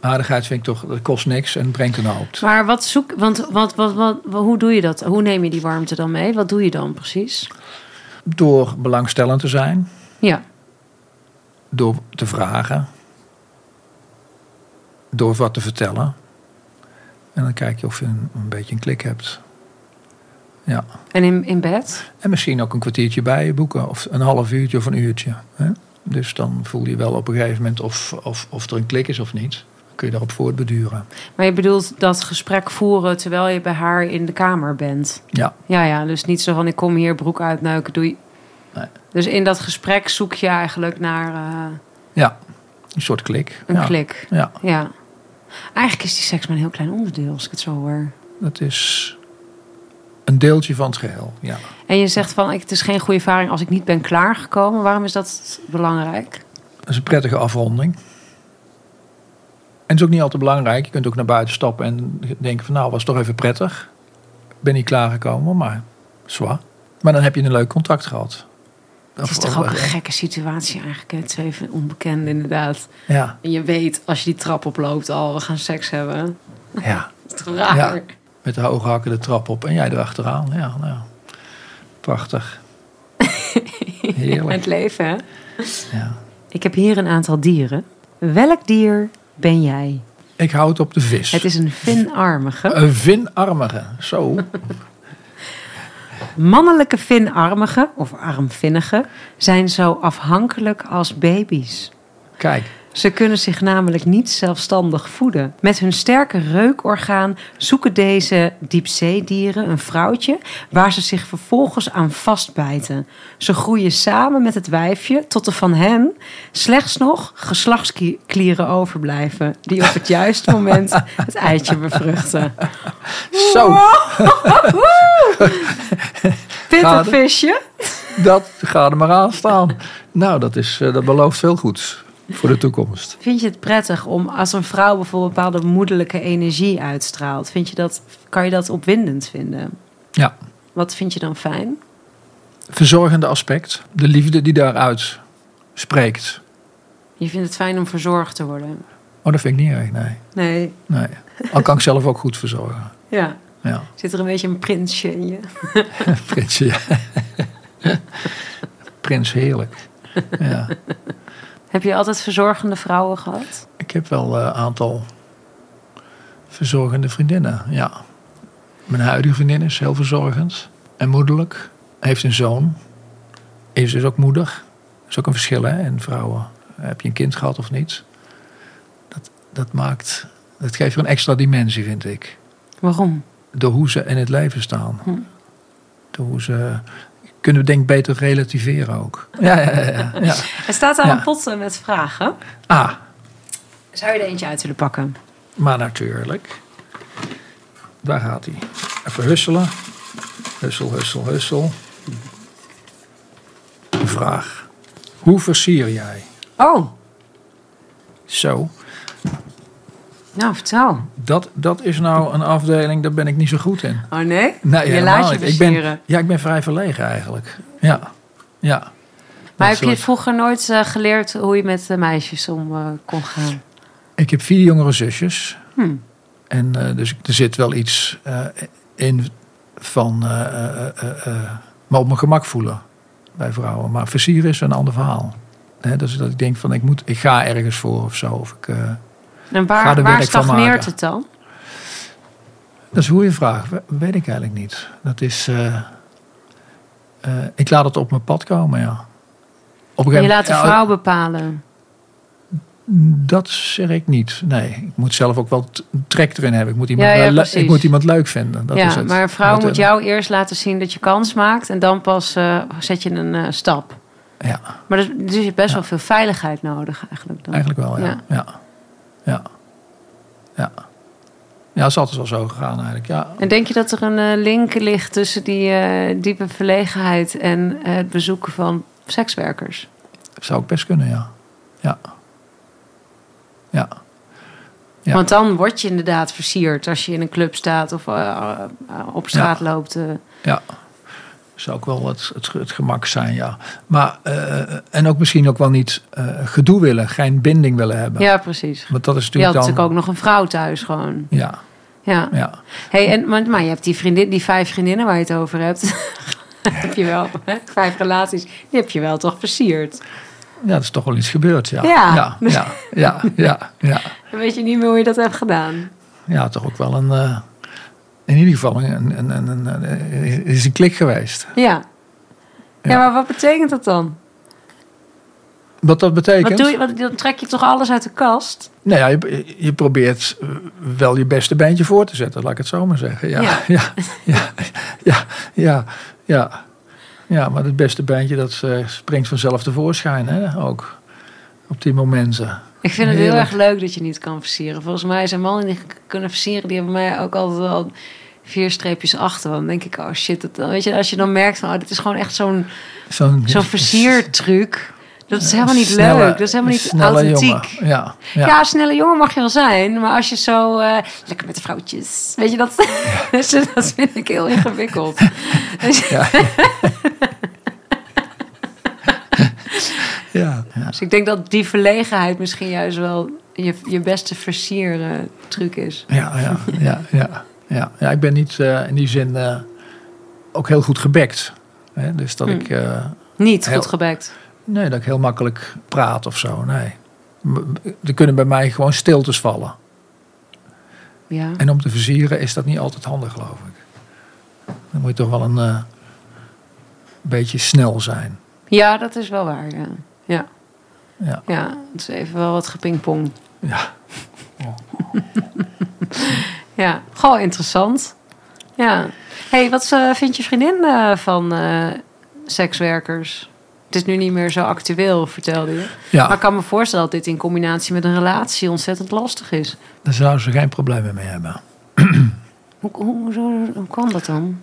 Speaker 3: Aardigheid vind ik toch, dat kost niks en brengt een hoop.
Speaker 1: Maar wat zoek, want wat, wat, wat, hoe doe je dat? Hoe neem je die warmte dan mee? Wat doe je dan precies?
Speaker 3: Door belangstellend te zijn,
Speaker 1: Ja,
Speaker 3: door te vragen, door wat te vertellen. En dan kijk je of je een, een beetje een klik hebt. Ja.
Speaker 1: en in, in bed?
Speaker 3: En misschien ook een kwartiertje bij je boeken, of een half uurtje of een uurtje. Hè? Dus dan voel je wel op een gegeven moment of, of, of er een klik is of niet. Kun je daarop voortbeduren.
Speaker 1: Maar je bedoelt dat gesprek voeren terwijl je bij haar in de kamer bent?
Speaker 3: Ja,
Speaker 1: Ja, ja, dus niet zo van ik kom hier broek uitnuiken, doei.
Speaker 3: Nee.
Speaker 1: Dus in dat gesprek zoek je eigenlijk naar eh,
Speaker 3: Ja, een soort klik.
Speaker 1: een
Speaker 3: ja.
Speaker 1: klik.
Speaker 3: Ja,
Speaker 1: Ja. Eigenlijk is die seks maar een heel klein onderdeel, als ik het zo hoor.
Speaker 3: dat is een deeltje van het geheel. Ja.
Speaker 1: En je zegt van, ik- het is geen goede ervaring als ik niet ben klaargekomen. Waarom is dat belangrijk?
Speaker 3: Dat is een prettige afronding. En het is ook niet altijd belangrijk. Je kunt ook naar buiten stappen en denken van nou, was toch even prettig. Ik ben niet klaargekomen, maar zwaar. Maar dan heb je een leuk contact gehad.
Speaker 1: Het is toch ook een gekke situatie eigenlijk, hè? twee van onbekenden inderdaad.
Speaker 3: Ja,
Speaker 1: En je weet, als je die trap oploopt al, we gaan seks hebben.
Speaker 3: ja.
Speaker 1: Dat is toch raar? <laughs>
Speaker 3: Ja. Met de hoge hakken de trap op en jij erachteraan. Ja, nou.
Speaker 1: <laughs>
Speaker 3: Prachtig. Heerlijk.
Speaker 1: Het leven, hè?
Speaker 3: Ja.
Speaker 1: Ik heb hier een aantal dieren. Welk dier ben jij?
Speaker 3: Ik hou het op de vis.
Speaker 1: Het is een vinarmige.
Speaker 3: Een vinarmige. Zo.
Speaker 1: Mannelijke vinarmige, of armvinnige, zijn zo afhankelijk als baby's.
Speaker 3: Kijk.
Speaker 1: Ze kunnen zich namelijk niet zelfstandig voeden. Met hun sterke reukorgaan zoeken deze diepzeedieren een vrouwtje waar ze zich vervolgens aan vastbijten. Ze groeien samen met het wijfje tot er van hen slechts nog geslachtsklieren overblijven, die op het juiste moment het eitje bevruchten.
Speaker 3: <laughs> Zo.
Speaker 1: Pittig visje.
Speaker 3: Dat ga er maar aan staan. Nou, dat, is, eh, dat belooft veel goeds voor de toekomst.
Speaker 1: Vind je het prettig om als een vrouw bijvoorbeeld bepaalde moederlijke energie uitstraalt? Vind je dat, kan je dat opwindend vinden?
Speaker 3: Ja.
Speaker 1: Wat vind je dan fijn?
Speaker 3: Verzorgende aspect. De liefde die daaruit spreekt.
Speaker 1: Je vindt het fijn om verzorgd te worden?
Speaker 3: Oh, dat vind ik niet erg, nee.
Speaker 1: Nee.
Speaker 3: nee. Al kan ik zelf ook goed verzorgen.
Speaker 1: Ja.
Speaker 3: Ja,
Speaker 1: Zit er een beetje een prinsje in je?
Speaker 3: prinsje. <laughs> ja. Prins heerlijk. Ja.
Speaker 1: Heb je altijd verzorgende vrouwen gehad?
Speaker 3: Ik heb wel eh, een aantal verzorgende vriendinnen, ja. Mijn huidige vriendin is heel verzorgend en moederlijk. Heeft een zoon. Is dus ook moeder. Dat is ook een verschil, hè, in vrouwen. Heb je een kind gehad of niet? Dat, dat maakt... Dat geeft er een extra dimensie, vind ik.
Speaker 1: Waarom?
Speaker 3: Door hoe ze in het leven staan.
Speaker 1: Hm.
Speaker 3: Door hoe ze... Kunnen we denk ik beter relativeren ook. Ja, ja, ja. ja, ja.
Speaker 1: Er staat daar
Speaker 3: Ja.
Speaker 1: een pot eh, met vragen.
Speaker 3: Ah,
Speaker 1: Zou je er eentje uit willen pakken?
Speaker 3: Maar natuurlijk. Daar gaat hij. Even husselen. Hussel, hussel, hussel. Een vraag. Hoe versier jij?
Speaker 1: Oh,
Speaker 3: Zo.
Speaker 1: nou vertel.
Speaker 3: Dat, dat is nou een afdeling, daar ben ik niet zo goed in.
Speaker 1: Oh nee?
Speaker 3: Nee,
Speaker 1: je
Speaker 3: helemaal
Speaker 1: laat je
Speaker 3: niet. ik ben,
Speaker 1: versieren.
Speaker 3: Ja, ik ben vrij verlegen eigenlijk. Ja. ja.
Speaker 1: Maar heb
Speaker 3: Dat
Speaker 1: je
Speaker 3: soort-
Speaker 1: vroeger nooit eh, geleerd hoe je met eh, meisjes om eh, kon gaan?
Speaker 3: Ik heb vier jongere zusjes.
Speaker 1: Hm.
Speaker 3: En eh, dus er zit wel iets eh, in van eh eh, eh, eh, me op mijn gemak voelen bij vrouwen. Maar versieren is een ander verhaal. Hè, dus dat ik denk van ik, moet, ik ga ergens voor of zo. Of ik, eh,
Speaker 1: En
Speaker 3: Ga
Speaker 1: waar,
Speaker 3: er
Speaker 1: waar
Speaker 3: werk van
Speaker 1: stagneert
Speaker 3: maken.
Speaker 1: het dan?
Speaker 3: dat is een goede vraag. We- Weet ik eigenlijk niet. Dat is, eh, eh, ik laat het op mijn pad komen, ja. Op een
Speaker 1: Je
Speaker 3: gegeven
Speaker 1: laat de
Speaker 3: ja,
Speaker 1: vrouw bepalen.
Speaker 3: Dat zeg ik niet. Nee, ik moet zelf ook wel t- trek erin hebben. Ik moet iemand,
Speaker 1: Ja, ja,
Speaker 3: wel le-
Speaker 1: precies.
Speaker 3: ik moet iemand leuk vinden. Dat is
Speaker 1: ja,
Speaker 3: het.
Speaker 1: maar een vrouw
Speaker 3: Dat,
Speaker 1: moet
Speaker 3: eh,
Speaker 1: jou eerst laten zien dat je kans maakt. En dan pas eh, zet je een eh, stap.
Speaker 3: Ja.
Speaker 1: Maar dus, dus je hebt best wel veel veiligheid nodig eigenlijk dan.
Speaker 3: Eigenlijk wel, ja.
Speaker 1: Ja.
Speaker 3: Ja. ja. ja. ja. dat is altijd wel zo gegaan eigenlijk, ja.
Speaker 1: En denk je dat er een eh, link ligt tussen die eh, diepe verlegenheid en eh, het bezoeken van sekswerkers?
Speaker 3: Zou ook best kunnen, ja. Ja. Ja. Ja.
Speaker 1: Want dan word je inderdaad versierd als je in een club staat of eh, eh, op straat loopt. eh.
Speaker 3: Zou ook wel het, het, het gemak zijn, ja. Maar, eh, en ook misschien ook wel niet eh, gedoe willen, geen binding willen hebben.
Speaker 1: ja, precies.
Speaker 3: Want dat is
Speaker 1: Je had
Speaker 3: natuurlijk dan...
Speaker 1: natuurlijk ook nog een vrouw thuis gewoon.
Speaker 3: Ja,
Speaker 1: Ja.
Speaker 3: ja.
Speaker 1: Hey, en, maar, maar je hebt die, vriendin, die vijf vriendinnen waar je het over hebt. <laughs> heb je wel, hè? vijf relaties, die heb je wel toch versierd.
Speaker 3: Ja, dat is toch wel iets gebeurd, ja.
Speaker 1: Ja.
Speaker 3: Ja, ja, ja, ja, ja.
Speaker 1: Dan weet je niet meer hoe je dat hebt gedaan.
Speaker 3: Ja, toch ook wel een... eh, in ieder geval een, een, een, een, een- is een klik geweest.
Speaker 1: Ja. Ja,
Speaker 3: Ja.
Speaker 1: maar wat betekent dat dan?
Speaker 3: Wat dat betekent...
Speaker 1: Wat doe je, wat, dan trek je toch alles uit de kast?
Speaker 3: Nou ja, je, je probeert eh, wel je beste bandje voor <laughs> te zetten, laat ik het zo maar zeggen. Ja,
Speaker 1: Ja.
Speaker 3: ja, ja, ja, ja. ja. Ja, maar het beste bandje dat eh, springt vanzelf tevoorschijn hè, ook. Op die momenten.
Speaker 1: Ik vind het heel
Speaker 3: Heerlijk.
Speaker 1: erg leuk dat je niet kan versieren. Volgens mij zijn mannen die k- kunnen versieren, die hebben mij ook altijd al vier streepjes achter. Dan denk ik, oh shit, dat, weet je, als je dan merkt van, oh, dit is gewoon echt zo'n
Speaker 3: Zo'n <laughs>
Speaker 1: zo'n versiertruc. Dat is helemaal niet
Speaker 3: Snelle-
Speaker 1: leuk, dat is helemaal niet
Speaker 3: snelle
Speaker 1: authentiek.
Speaker 3: jongen. Ja,
Speaker 1: Ja.
Speaker 3: ja.
Speaker 1: snelle jongen mag je wel zijn, maar als je zo eh, lekker met de vrouwtjes, weet je dat? <laughs> dus dat vind ik heel
Speaker 3: <laughs>
Speaker 1: ingewikkeld. Dus-
Speaker 3: Ja. ja. ja.
Speaker 1: Dus ik denk dat die verlegenheid misschien juist wel je, je beste versieren truc is.
Speaker 3: Ja, ja, ja, ja, ja. ja ik ben niet eh, in die zin eh, ook heel goed gebekt. Hè? Dus dat
Speaker 1: Hmm.
Speaker 3: ik, eh,
Speaker 1: Niet
Speaker 3: Heel-
Speaker 1: goed gebekt.
Speaker 3: nee, dat ik heel makkelijk praat of zo. Nee. M- Er kunnen bij mij gewoon stiltes vallen.
Speaker 1: Ja.
Speaker 3: En om te versieren is dat niet altijd handig, geloof ik. Dan moet je toch wel een eh, beetje snel zijn.
Speaker 1: ja, dat is wel waar. Ja, ja.
Speaker 3: Ja.
Speaker 1: het is even wel wat gepingpong.
Speaker 3: Ja.
Speaker 1: Ja, gewoon interessant. Ja. hey, wat eh, vindt je vriendin eh, van eh, sekswerkers? Het is nu niet meer zo actueel, vertelde je.
Speaker 3: ja.
Speaker 1: Maar ik kan me voorstellen dat dit in combinatie met een relatie ontzettend lastig is.
Speaker 3: Daar zouden ze geen problemen mee hebben.
Speaker 1: Hoe, hoe, hoezo- hoe kwam dat dan?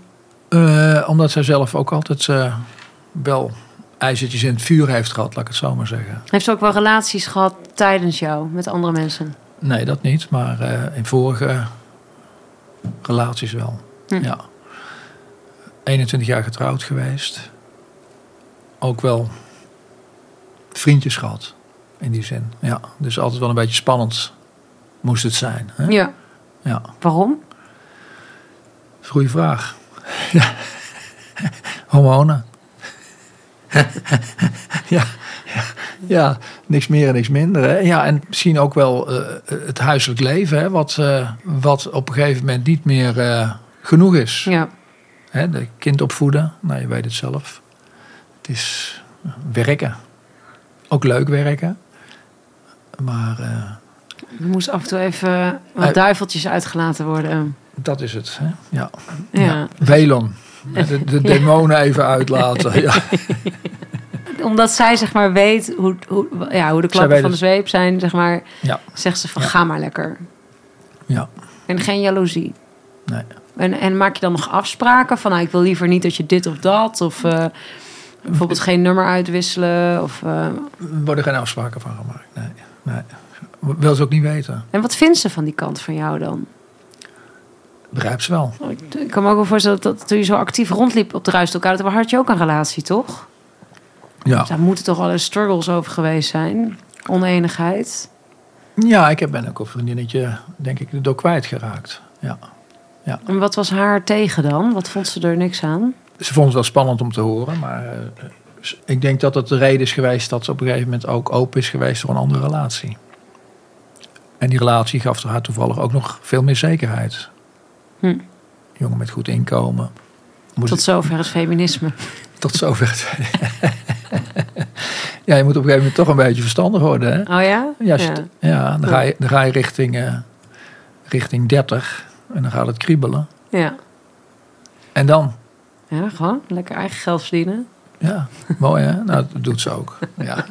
Speaker 3: Eh, omdat zij zelf ook altijd eh, wel ijzertjes in het vuur heeft gehad, laat ik het zo maar zeggen.
Speaker 1: Heeft ze ook wel relaties gehad tijdens jou met andere mensen?
Speaker 3: Nee, dat niet, maar eh, in vorige relaties wel.
Speaker 1: Hm.
Speaker 3: Ja. 21 jaar getrouwd geweest. Ook wel vriendjes gehad, in die zin. Ja, dus altijd wel een beetje spannend moest het zijn. Hè?
Speaker 1: Ja.
Speaker 3: Ja.
Speaker 1: Waarom?
Speaker 3: Dat is een goede vraag. Ja. Hormonen. <laughs> ja. ja. Ja, niks meer en niks minder. Hè. Ja, en misschien ook wel eh, het huiselijk leven, hè, wat, eh, wat op een gegeven moment niet meer eh, genoeg is.
Speaker 1: Ja.
Speaker 3: Hè, de kind opvoeden, nou je weet het zelf. Het is werken. Ook leuk werken. Maar eh,
Speaker 1: Er moest af en toe even wat
Speaker 3: Eh.
Speaker 1: duiveltjes uitgelaten worden.
Speaker 3: dat is het. Hè? Ja.
Speaker 1: Ja.
Speaker 3: Welon. De, de demonen even uitlaten. Ja.
Speaker 1: Omdat zij zeg maar weet hoe, hoe, ja, hoe de
Speaker 3: Zij
Speaker 1: klappen
Speaker 3: weet
Speaker 1: van de
Speaker 3: het.
Speaker 1: zweep zijn, zeg maar,
Speaker 3: Ja.
Speaker 1: zegt ze van
Speaker 3: Ja.
Speaker 1: ga maar lekker.
Speaker 3: Ja.
Speaker 1: En geen jaloezie.
Speaker 3: Nee.
Speaker 1: En, en maak je dan nog afspraken van nou, ik wil liever niet dat je dit of dat. Of eh, bijvoorbeeld geen nummer uitwisselen. Of, eh,
Speaker 3: Er worden geen afspraken van gemaakt. Nee, nee. Wil ze ook niet weten.
Speaker 1: En wat vindt ze van die kant van jou dan?
Speaker 3: Begrijp ze wel.
Speaker 1: Oh, Ik ik kan me ook wel voorstellen dat, dat toen je zo actief rondliep op de ruistokade, dat had je ook een relatie, toch?
Speaker 3: Ja,
Speaker 1: Dus daar moeten toch alle struggles over geweest zijn. Oneenigheid.
Speaker 3: ja ik heb- ben ook een vriendinnetje, denk ik, erdoor kwijtgeraakt. Ja.
Speaker 1: En wat was haar tegen dan? Wat vond ze er niks aan?
Speaker 3: Ze vond het wel spannend om te horen, maar eh, ik denk dat dat de reden is geweest dat ze op een gegeven moment ook open is geweest voor een andere relatie. En die relatie gaf haar toevallig ook nog veel meer zekerheid.
Speaker 1: Hm.
Speaker 3: Jongen met goed inkomen. Moest
Speaker 1: Tot zover het feminisme.
Speaker 3: tot zover. <laughs> het- ja, je moet op een gegeven moment toch een beetje verstandig worden, hè?
Speaker 1: Oh ja?
Speaker 3: Ja, als je t- ja. dan, ga je, dan ga je richting, eh, richting 30 en dan gaat het kriebelen.
Speaker 1: ja.
Speaker 3: En dan,
Speaker 1: Ja, gewoon lekker eigen geld verdienen.
Speaker 3: ja, <laughs> mooi hè? Nou, dat doet ze ook. <laughs> Ja,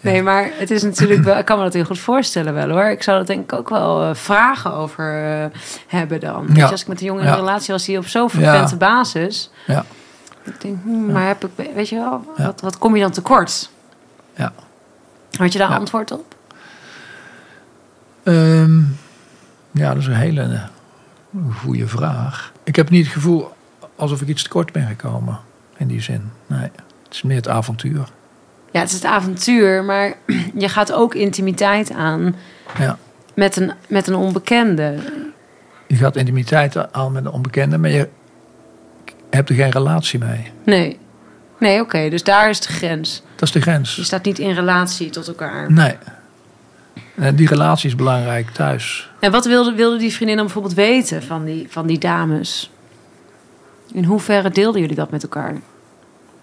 Speaker 1: Nee, maar het is natuurlijk wel, ik kan me dat heel goed voorstellen wel hoor. Ik zou dat denk ik ook wel eh, vragen over eh, hebben dan. Weet je, als ik met een jongen in een
Speaker 3: Ja.
Speaker 1: relatie was die op zo'n
Speaker 3: Ja.
Speaker 1: frequente basis.
Speaker 3: Ja.
Speaker 1: Ik denk, hmm, maar heb ik, weet je wel,
Speaker 3: Ja.
Speaker 1: wat, wat kom je dan tekort?
Speaker 3: ja.
Speaker 1: Had je daar
Speaker 3: Ja.
Speaker 1: antwoord op?
Speaker 3: Ehm, ja, dat is een hele eh, goede vraag. Ik heb niet het gevoel alsof ik iets tekort ben gekomen in die zin. Nee, het is meer het avontuur.
Speaker 1: Ja, het is het avontuur, maar <clears throat> je gaat ook intimiteit aan
Speaker 3: Ja.
Speaker 1: met een, met een onbekende.
Speaker 3: Je gaat intimiteit aan met een onbekende, maar je hebt er geen relatie mee.
Speaker 1: Nee. Nee, oké, dus daar is de grens.
Speaker 3: Dat is de grens.
Speaker 1: Je staat niet in relatie tot elkaar.
Speaker 3: Nee. Eh, Die relatie is belangrijk thuis.
Speaker 1: En wat wilde, wilde die vriendin dan bijvoorbeeld weten van die, van die dames? In hoeverre deelden jullie dat met elkaar?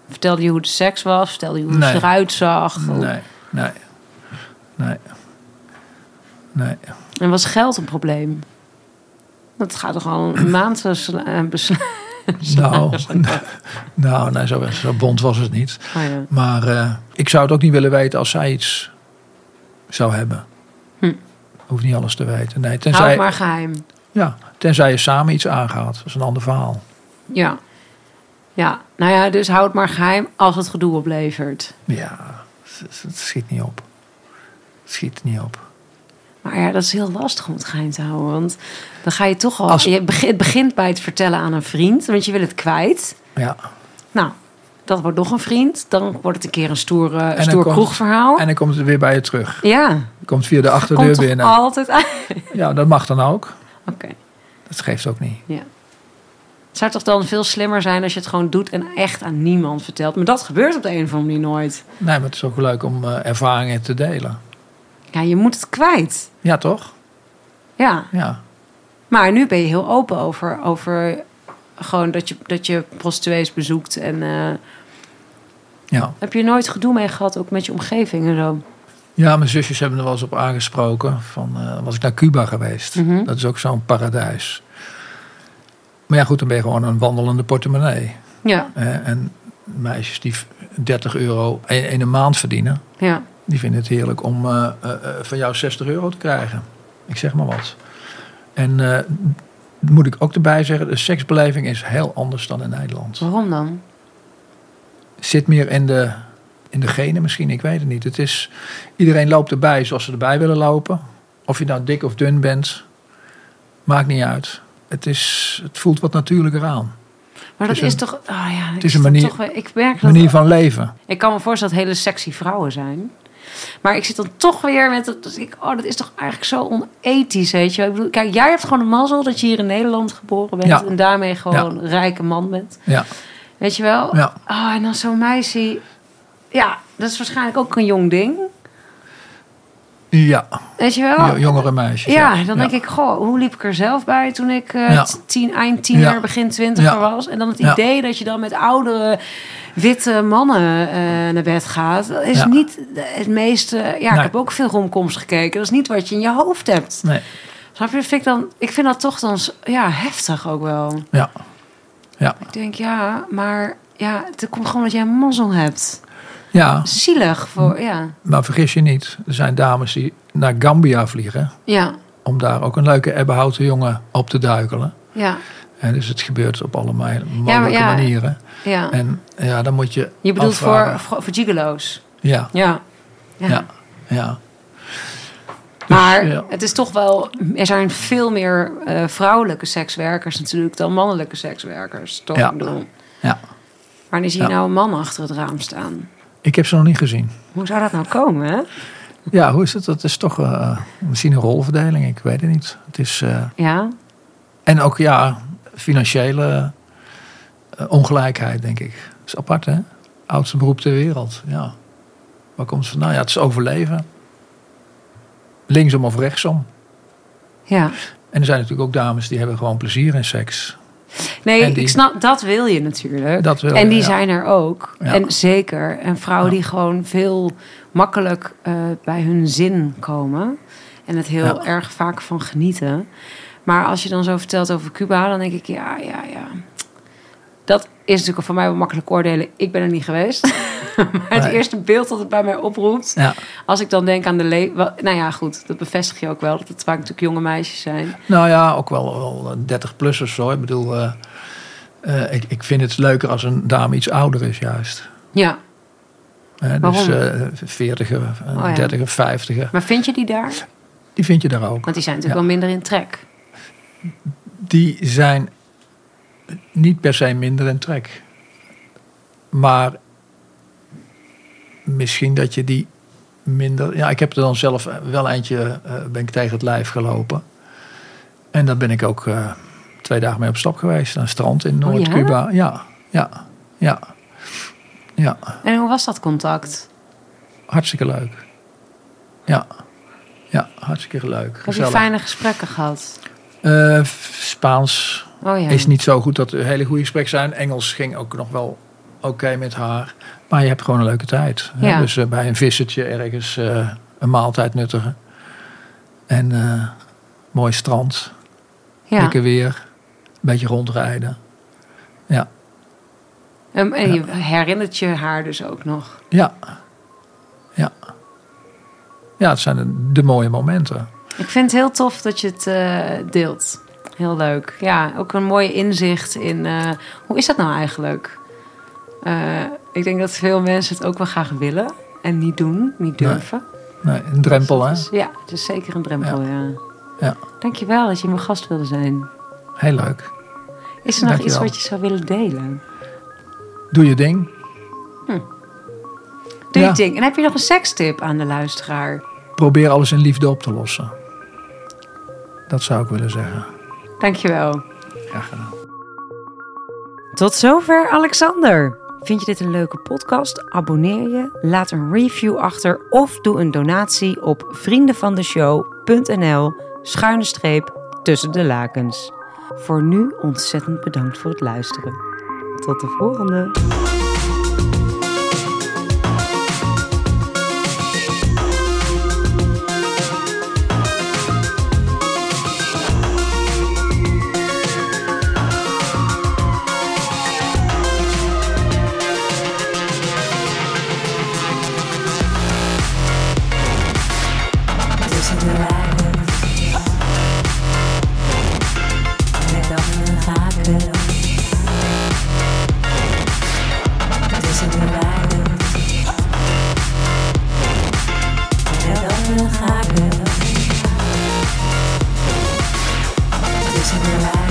Speaker 1: Vertelde je hoe de seks was? Vertelde je hoe
Speaker 3: Nee.
Speaker 1: ze eruit zag?
Speaker 3: Nee, nee, nee. Nee. <clears throat>
Speaker 1: En was geld een probleem? Dat gaat toch al een maand <laughs> <laughs> zo sla- eh, besla-
Speaker 3: Nou, nou, nee, zo, zo bond was het niet.
Speaker 1: Oh ja.
Speaker 3: Maar eh, ik zou het ook niet willen weten als zij iets zou hebben.
Speaker 1: Hm.
Speaker 3: Hoeft niet alles te weten. Nee,
Speaker 1: Hou het
Speaker 3: tenzij,
Speaker 1: maar geheim.
Speaker 3: ja, tenzij je samen iets aangaat. Dat is een ander verhaal.
Speaker 1: Ja. Ja, nou ja, dus hou het maar geheim als het gedoe oplevert.
Speaker 3: Ja, het, het schiet niet op. Het schiet niet op.
Speaker 1: Maar ja, dat is heel lastig om het geheim te houden. Want dan ga je toch al.
Speaker 3: Als-
Speaker 1: Je begint, het begint bij het vertellen aan een vriend, want je wil het kwijt.
Speaker 3: Ja.
Speaker 1: Nou, dat wordt nog een vriend. Dan wordt het een keer een stoer, eh,
Speaker 3: dan
Speaker 1: stoer
Speaker 3: komt-
Speaker 1: kroegverhaal.
Speaker 3: En dan komt het weer bij je terug.
Speaker 1: ja,
Speaker 3: Komt via de
Speaker 1: komt
Speaker 3: achterdeur
Speaker 1: toch
Speaker 3: binnen.
Speaker 1: altijd <laughs> aan. Oké.
Speaker 3: Ja, dat mag dan ook. Dat geeft ook niet.
Speaker 1: Het zou toch dan veel slimmer zijn als je het gewoon doet en echt aan niemand vertelt. Maar dat gebeurt op de een of andere manier nooit.
Speaker 3: Nee, maar het is ook leuk om eh, ervaringen te delen.
Speaker 1: Ja, je moet het kwijt.
Speaker 3: Ja, toch?
Speaker 1: Ja.
Speaker 3: Ja.
Speaker 1: Maar nu ben je heel open over, over gewoon dat je, dat je prostituees bezoekt. En eh,
Speaker 3: Ja.
Speaker 1: heb je nooit gedoe mee gehad, ook met je omgeving en zo?
Speaker 3: ja, mijn zusjes hebben er wel eens op aangesproken. Van, eh, was ik naar Cuba geweest?
Speaker 1: Mhm.
Speaker 3: Dat is ook zo'n paradijs. Maar ja, goed, dan ben je gewoon een wandelende portemonnee.
Speaker 1: Ja,
Speaker 3: hè. en meisjes die v- 30 euro in, in een maand verdienen,
Speaker 1: ja.
Speaker 3: die vinden het heerlijk om eh, eh, eh, van jou 60 euro te krijgen. Ik zeg maar wat. En eh, moet ik ook erbij zeggen, de seksbeleving is heel anders dan in Nederland.
Speaker 1: Waarom dan?
Speaker 3: zit meer in de, in de genen misschien, ik weet het niet. Het is, iedereen loopt erbij zoals ze erbij willen lopen. Of je nou dik of dun bent, maakt niet uit. Het, is, het voelt wat natuurlijker aan.
Speaker 1: Maar dat
Speaker 3: Het
Speaker 1: is,
Speaker 3: is een-
Speaker 1: toch. ah ja, het
Speaker 3: is een manier-
Speaker 1: Toch, wel- ik merk dat.
Speaker 3: Manier van leven.
Speaker 1: Ik kan me voorstellen dat hele sexy vrouwen zijn. Maar ik zit dan toch weer met. dat- dat ik, oh, dat is toch eigenlijk zo onethisch, weet je wel. Ik bedoel, kijk, jij hebt gewoon een mazzel dat je hier in Nederland geboren bent.
Speaker 3: Ja.
Speaker 1: En daarmee gewoon een rijke man bent.
Speaker 3: Ja,
Speaker 1: Weet je wel?
Speaker 3: ja.
Speaker 1: Oh, en dan zo'n meisje. Ja, dat is waarschijnlijk ook een jong ding.
Speaker 3: ja.
Speaker 1: Weet je wel?
Speaker 3: jo- jongere meisjes.
Speaker 1: Oh. ja, dan denk ik, goh, hoe liep ik er zelf bij toen ik eh,
Speaker 3: Ja.
Speaker 1: t- tien, eind tiener,
Speaker 3: Ja.
Speaker 1: begin twintiger
Speaker 3: Ja.
Speaker 1: was? En dan het
Speaker 3: Ja.
Speaker 1: idee dat je dan met oudere witte mannen eh, naar bed gaat, dat is
Speaker 3: Ja.
Speaker 1: niet de- het meeste. Ja, ik
Speaker 3: Nee.
Speaker 1: heb ook veel romcoms gekeken. Dat is niet wat je in je hoofd hebt.
Speaker 3: Nee,
Speaker 1: Snap je? Dat Vind ik, dan, ik vind dat toch dan s- ja, heftig ook wel.
Speaker 3: ja. Ja,
Speaker 1: Ik denk, ja, maar ja, het komt gewoon dat jij een mazzel hebt.
Speaker 3: ja,
Speaker 1: Zielig voor, ja.
Speaker 3: maar vergis je niet. Er zijn dames die naar Gambia vliegen.
Speaker 1: Ja,
Speaker 3: Om daar ook een leuke ebbenhouten jongen op te duikelen.
Speaker 1: ja,
Speaker 3: En dus het gebeurt op alle mij- mogelijke
Speaker 1: ja.
Speaker 3: manieren.
Speaker 1: ja.
Speaker 3: En ja, dan moet je.
Speaker 1: Je bedoelt voor,
Speaker 3: afvragen.
Speaker 1: voor, voor gigolo's.
Speaker 3: Ja,
Speaker 1: Ja. Ja.
Speaker 3: ja, ja.
Speaker 1: maar
Speaker 3: ja.
Speaker 1: het is toch wel... Er zijn veel meer eh, vrouwelijke sekswerkers natuurlijk... dan mannelijke sekswerkers. Toch?
Speaker 3: Ja.
Speaker 1: Ik bedoel,
Speaker 3: ja.
Speaker 1: wanneer zie je
Speaker 3: Ja.
Speaker 1: nou een man achter het raam staan?
Speaker 3: Ik heb ze nog niet gezien.
Speaker 1: Hoe zou dat nou komen, hè?
Speaker 3: Ja, hoe is het? Dat is toch eh, misschien een rolverdeling, ik weet het niet. Het is, eh,
Speaker 1: Ja?
Speaker 3: en ook ja, financiële eh, ongelijkheid, denk ik. Dat is apart, hè? Oudste beroep ter wereld, ja. Waar komt het vandaan? Ja, het is overleven. Linksom of rechtsom.
Speaker 1: Ja.
Speaker 3: En er zijn natuurlijk ook dames die hebben gewoon plezier in seks.
Speaker 1: Nee,
Speaker 3: En die-
Speaker 1: ik snap, dat wil je natuurlijk.
Speaker 3: Dat wil
Speaker 1: en
Speaker 3: je,
Speaker 1: die
Speaker 3: ja.
Speaker 1: zijn er ook.
Speaker 3: Ja.
Speaker 1: En zeker. En vrouwen
Speaker 3: Ja.
Speaker 1: die gewoon veel makkelijk eh, bij hun zin komen. En het heel
Speaker 3: Ja.
Speaker 1: erg vaak van genieten. Maar als je dan zo vertelt over Cuba, dan denk ik, ja, ja, ja. Dat is natuurlijk voor mij wel makkelijk oordelen. Ik ben er niet geweest. <laughs> maar het
Speaker 3: Nee.
Speaker 1: eerste beeld dat het bij mij oproept.
Speaker 3: Ja.
Speaker 1: Als ik dan denk aan de le- wel- Nou ja, goed. Dat bevestig je ook wel. Dat het vaak natuurlijk jonge meisjes zijn.
Speaker 3: Nou ja, ook wel, wel eh, 30 plus of zo. Ik bedoel, eh, eh, ik, ik vind het leuker als een dame iets ouder is juist.
Speaker 1: Ja.
Speaker 3: Hè, dus
Speaker 1: Waarom?
Speaker 3: eh veertiger,
Speaker 1: Oh ja.
Speaker 3: dertiger, vijftiger.
Speaker 1: Maar vind je die daar?
Speaker 3: Die vind je daar ook.
Speaker 1: Want die zijn natuurlijk
Speaker 3: Ja.
Speaker 1: wel minder in trek.
Speaker 3: Die zijn niet per se minder in trek. Maar misschien dat je die minder... Ja, ik heb er dan zelf wel eentje eh, ben ik tegen het lijf gelopen. En daar ben ik ook eh, twee dagen mee op stap geweest. Aan het strand in
Speaker 1: Oh, ja?
Speaker 3: Noord-Cuba. ja? ja, ja, ja.
Speaker 1: En hoe was dat contact?
Speaker 3: Hartstikke leuk. Ja, ja hartstikke leuk.
Speaker 1: Heb je
Speaker 3: Gezellig.
Speaker 1: fijne gesprekken gehad?
Speaker 3: Eh, f- Spaans
Speaker 1: Oh ja.
Speaker 3: is niet zo goed dat er hele goede gesprekken zijn. Engels ging ook nog wel oké met haar. Maar je hebt gewoon een leuke tijd. hè.
Speaker 1: Ja.
Speaker 3: Dus eh, bij een vissertje ergens eh, een maaltijd nuttigen. En eh, mooi strand.
Speaker 1: ja.
Speaker 3: Lekker weer. Een beetje rondrijden. Ja.
Speaker 1: Um, en je herinnert je haar dus ook nog.
Speaker 3: Ja. Ja. Ja, het zijn de, de mooie momenten.
Speaker 1: Ik vind het heel tof dat je het eh, deelt. Heel leuk. Ja, ook een mooi inzicht in eh, hoe is dat nou eigenlijk? Eh, ik denk dat veel mensen het ook wel graag willen en niet doen, niet
Speaker 3: Nee.
Speaker 1: durven.
Speaker 3: Nee, een drempel, hè?
Speaker 1: Dus ja, het is zeker een drempel, ja.
Speaker 3: Ja.
Speaker 1: Dankjewel dat je mijn gast wilde zijn.
Speaker 3: Heel leuk.
Speaker 1: Is er nog iets
Speaker 3: Dankjewel.
Speaker 1: wat je zou willen delen?
Speaker 3: Doe je ding.
Speaker 1: Doe
Speaker 3: Ja.
Speaker 1: je ding. En heb je nog een sekstip aan de luisteraar?
Speaker 3: Probeer alles in liefde op te lossen. Dat zou ik willen zeggen.
Speaker 1: Dankjewel.
Speaker 3: Graag gedaan.
Speaker 1: Tot zover Alexander. Vind je dit een leuke podcast? Abonneer je, laat een review achter of doe een donatie op vriendenvandeshow.nl schuine streep tussen de lakens. Voor nu ontzettend bedankt voor het luisteren. Tot de volgende.
Speaker 2: Tussen de lakens. Met al mijn haken. Tussen de lakens. Met al mijn haken. Tussen de lakens.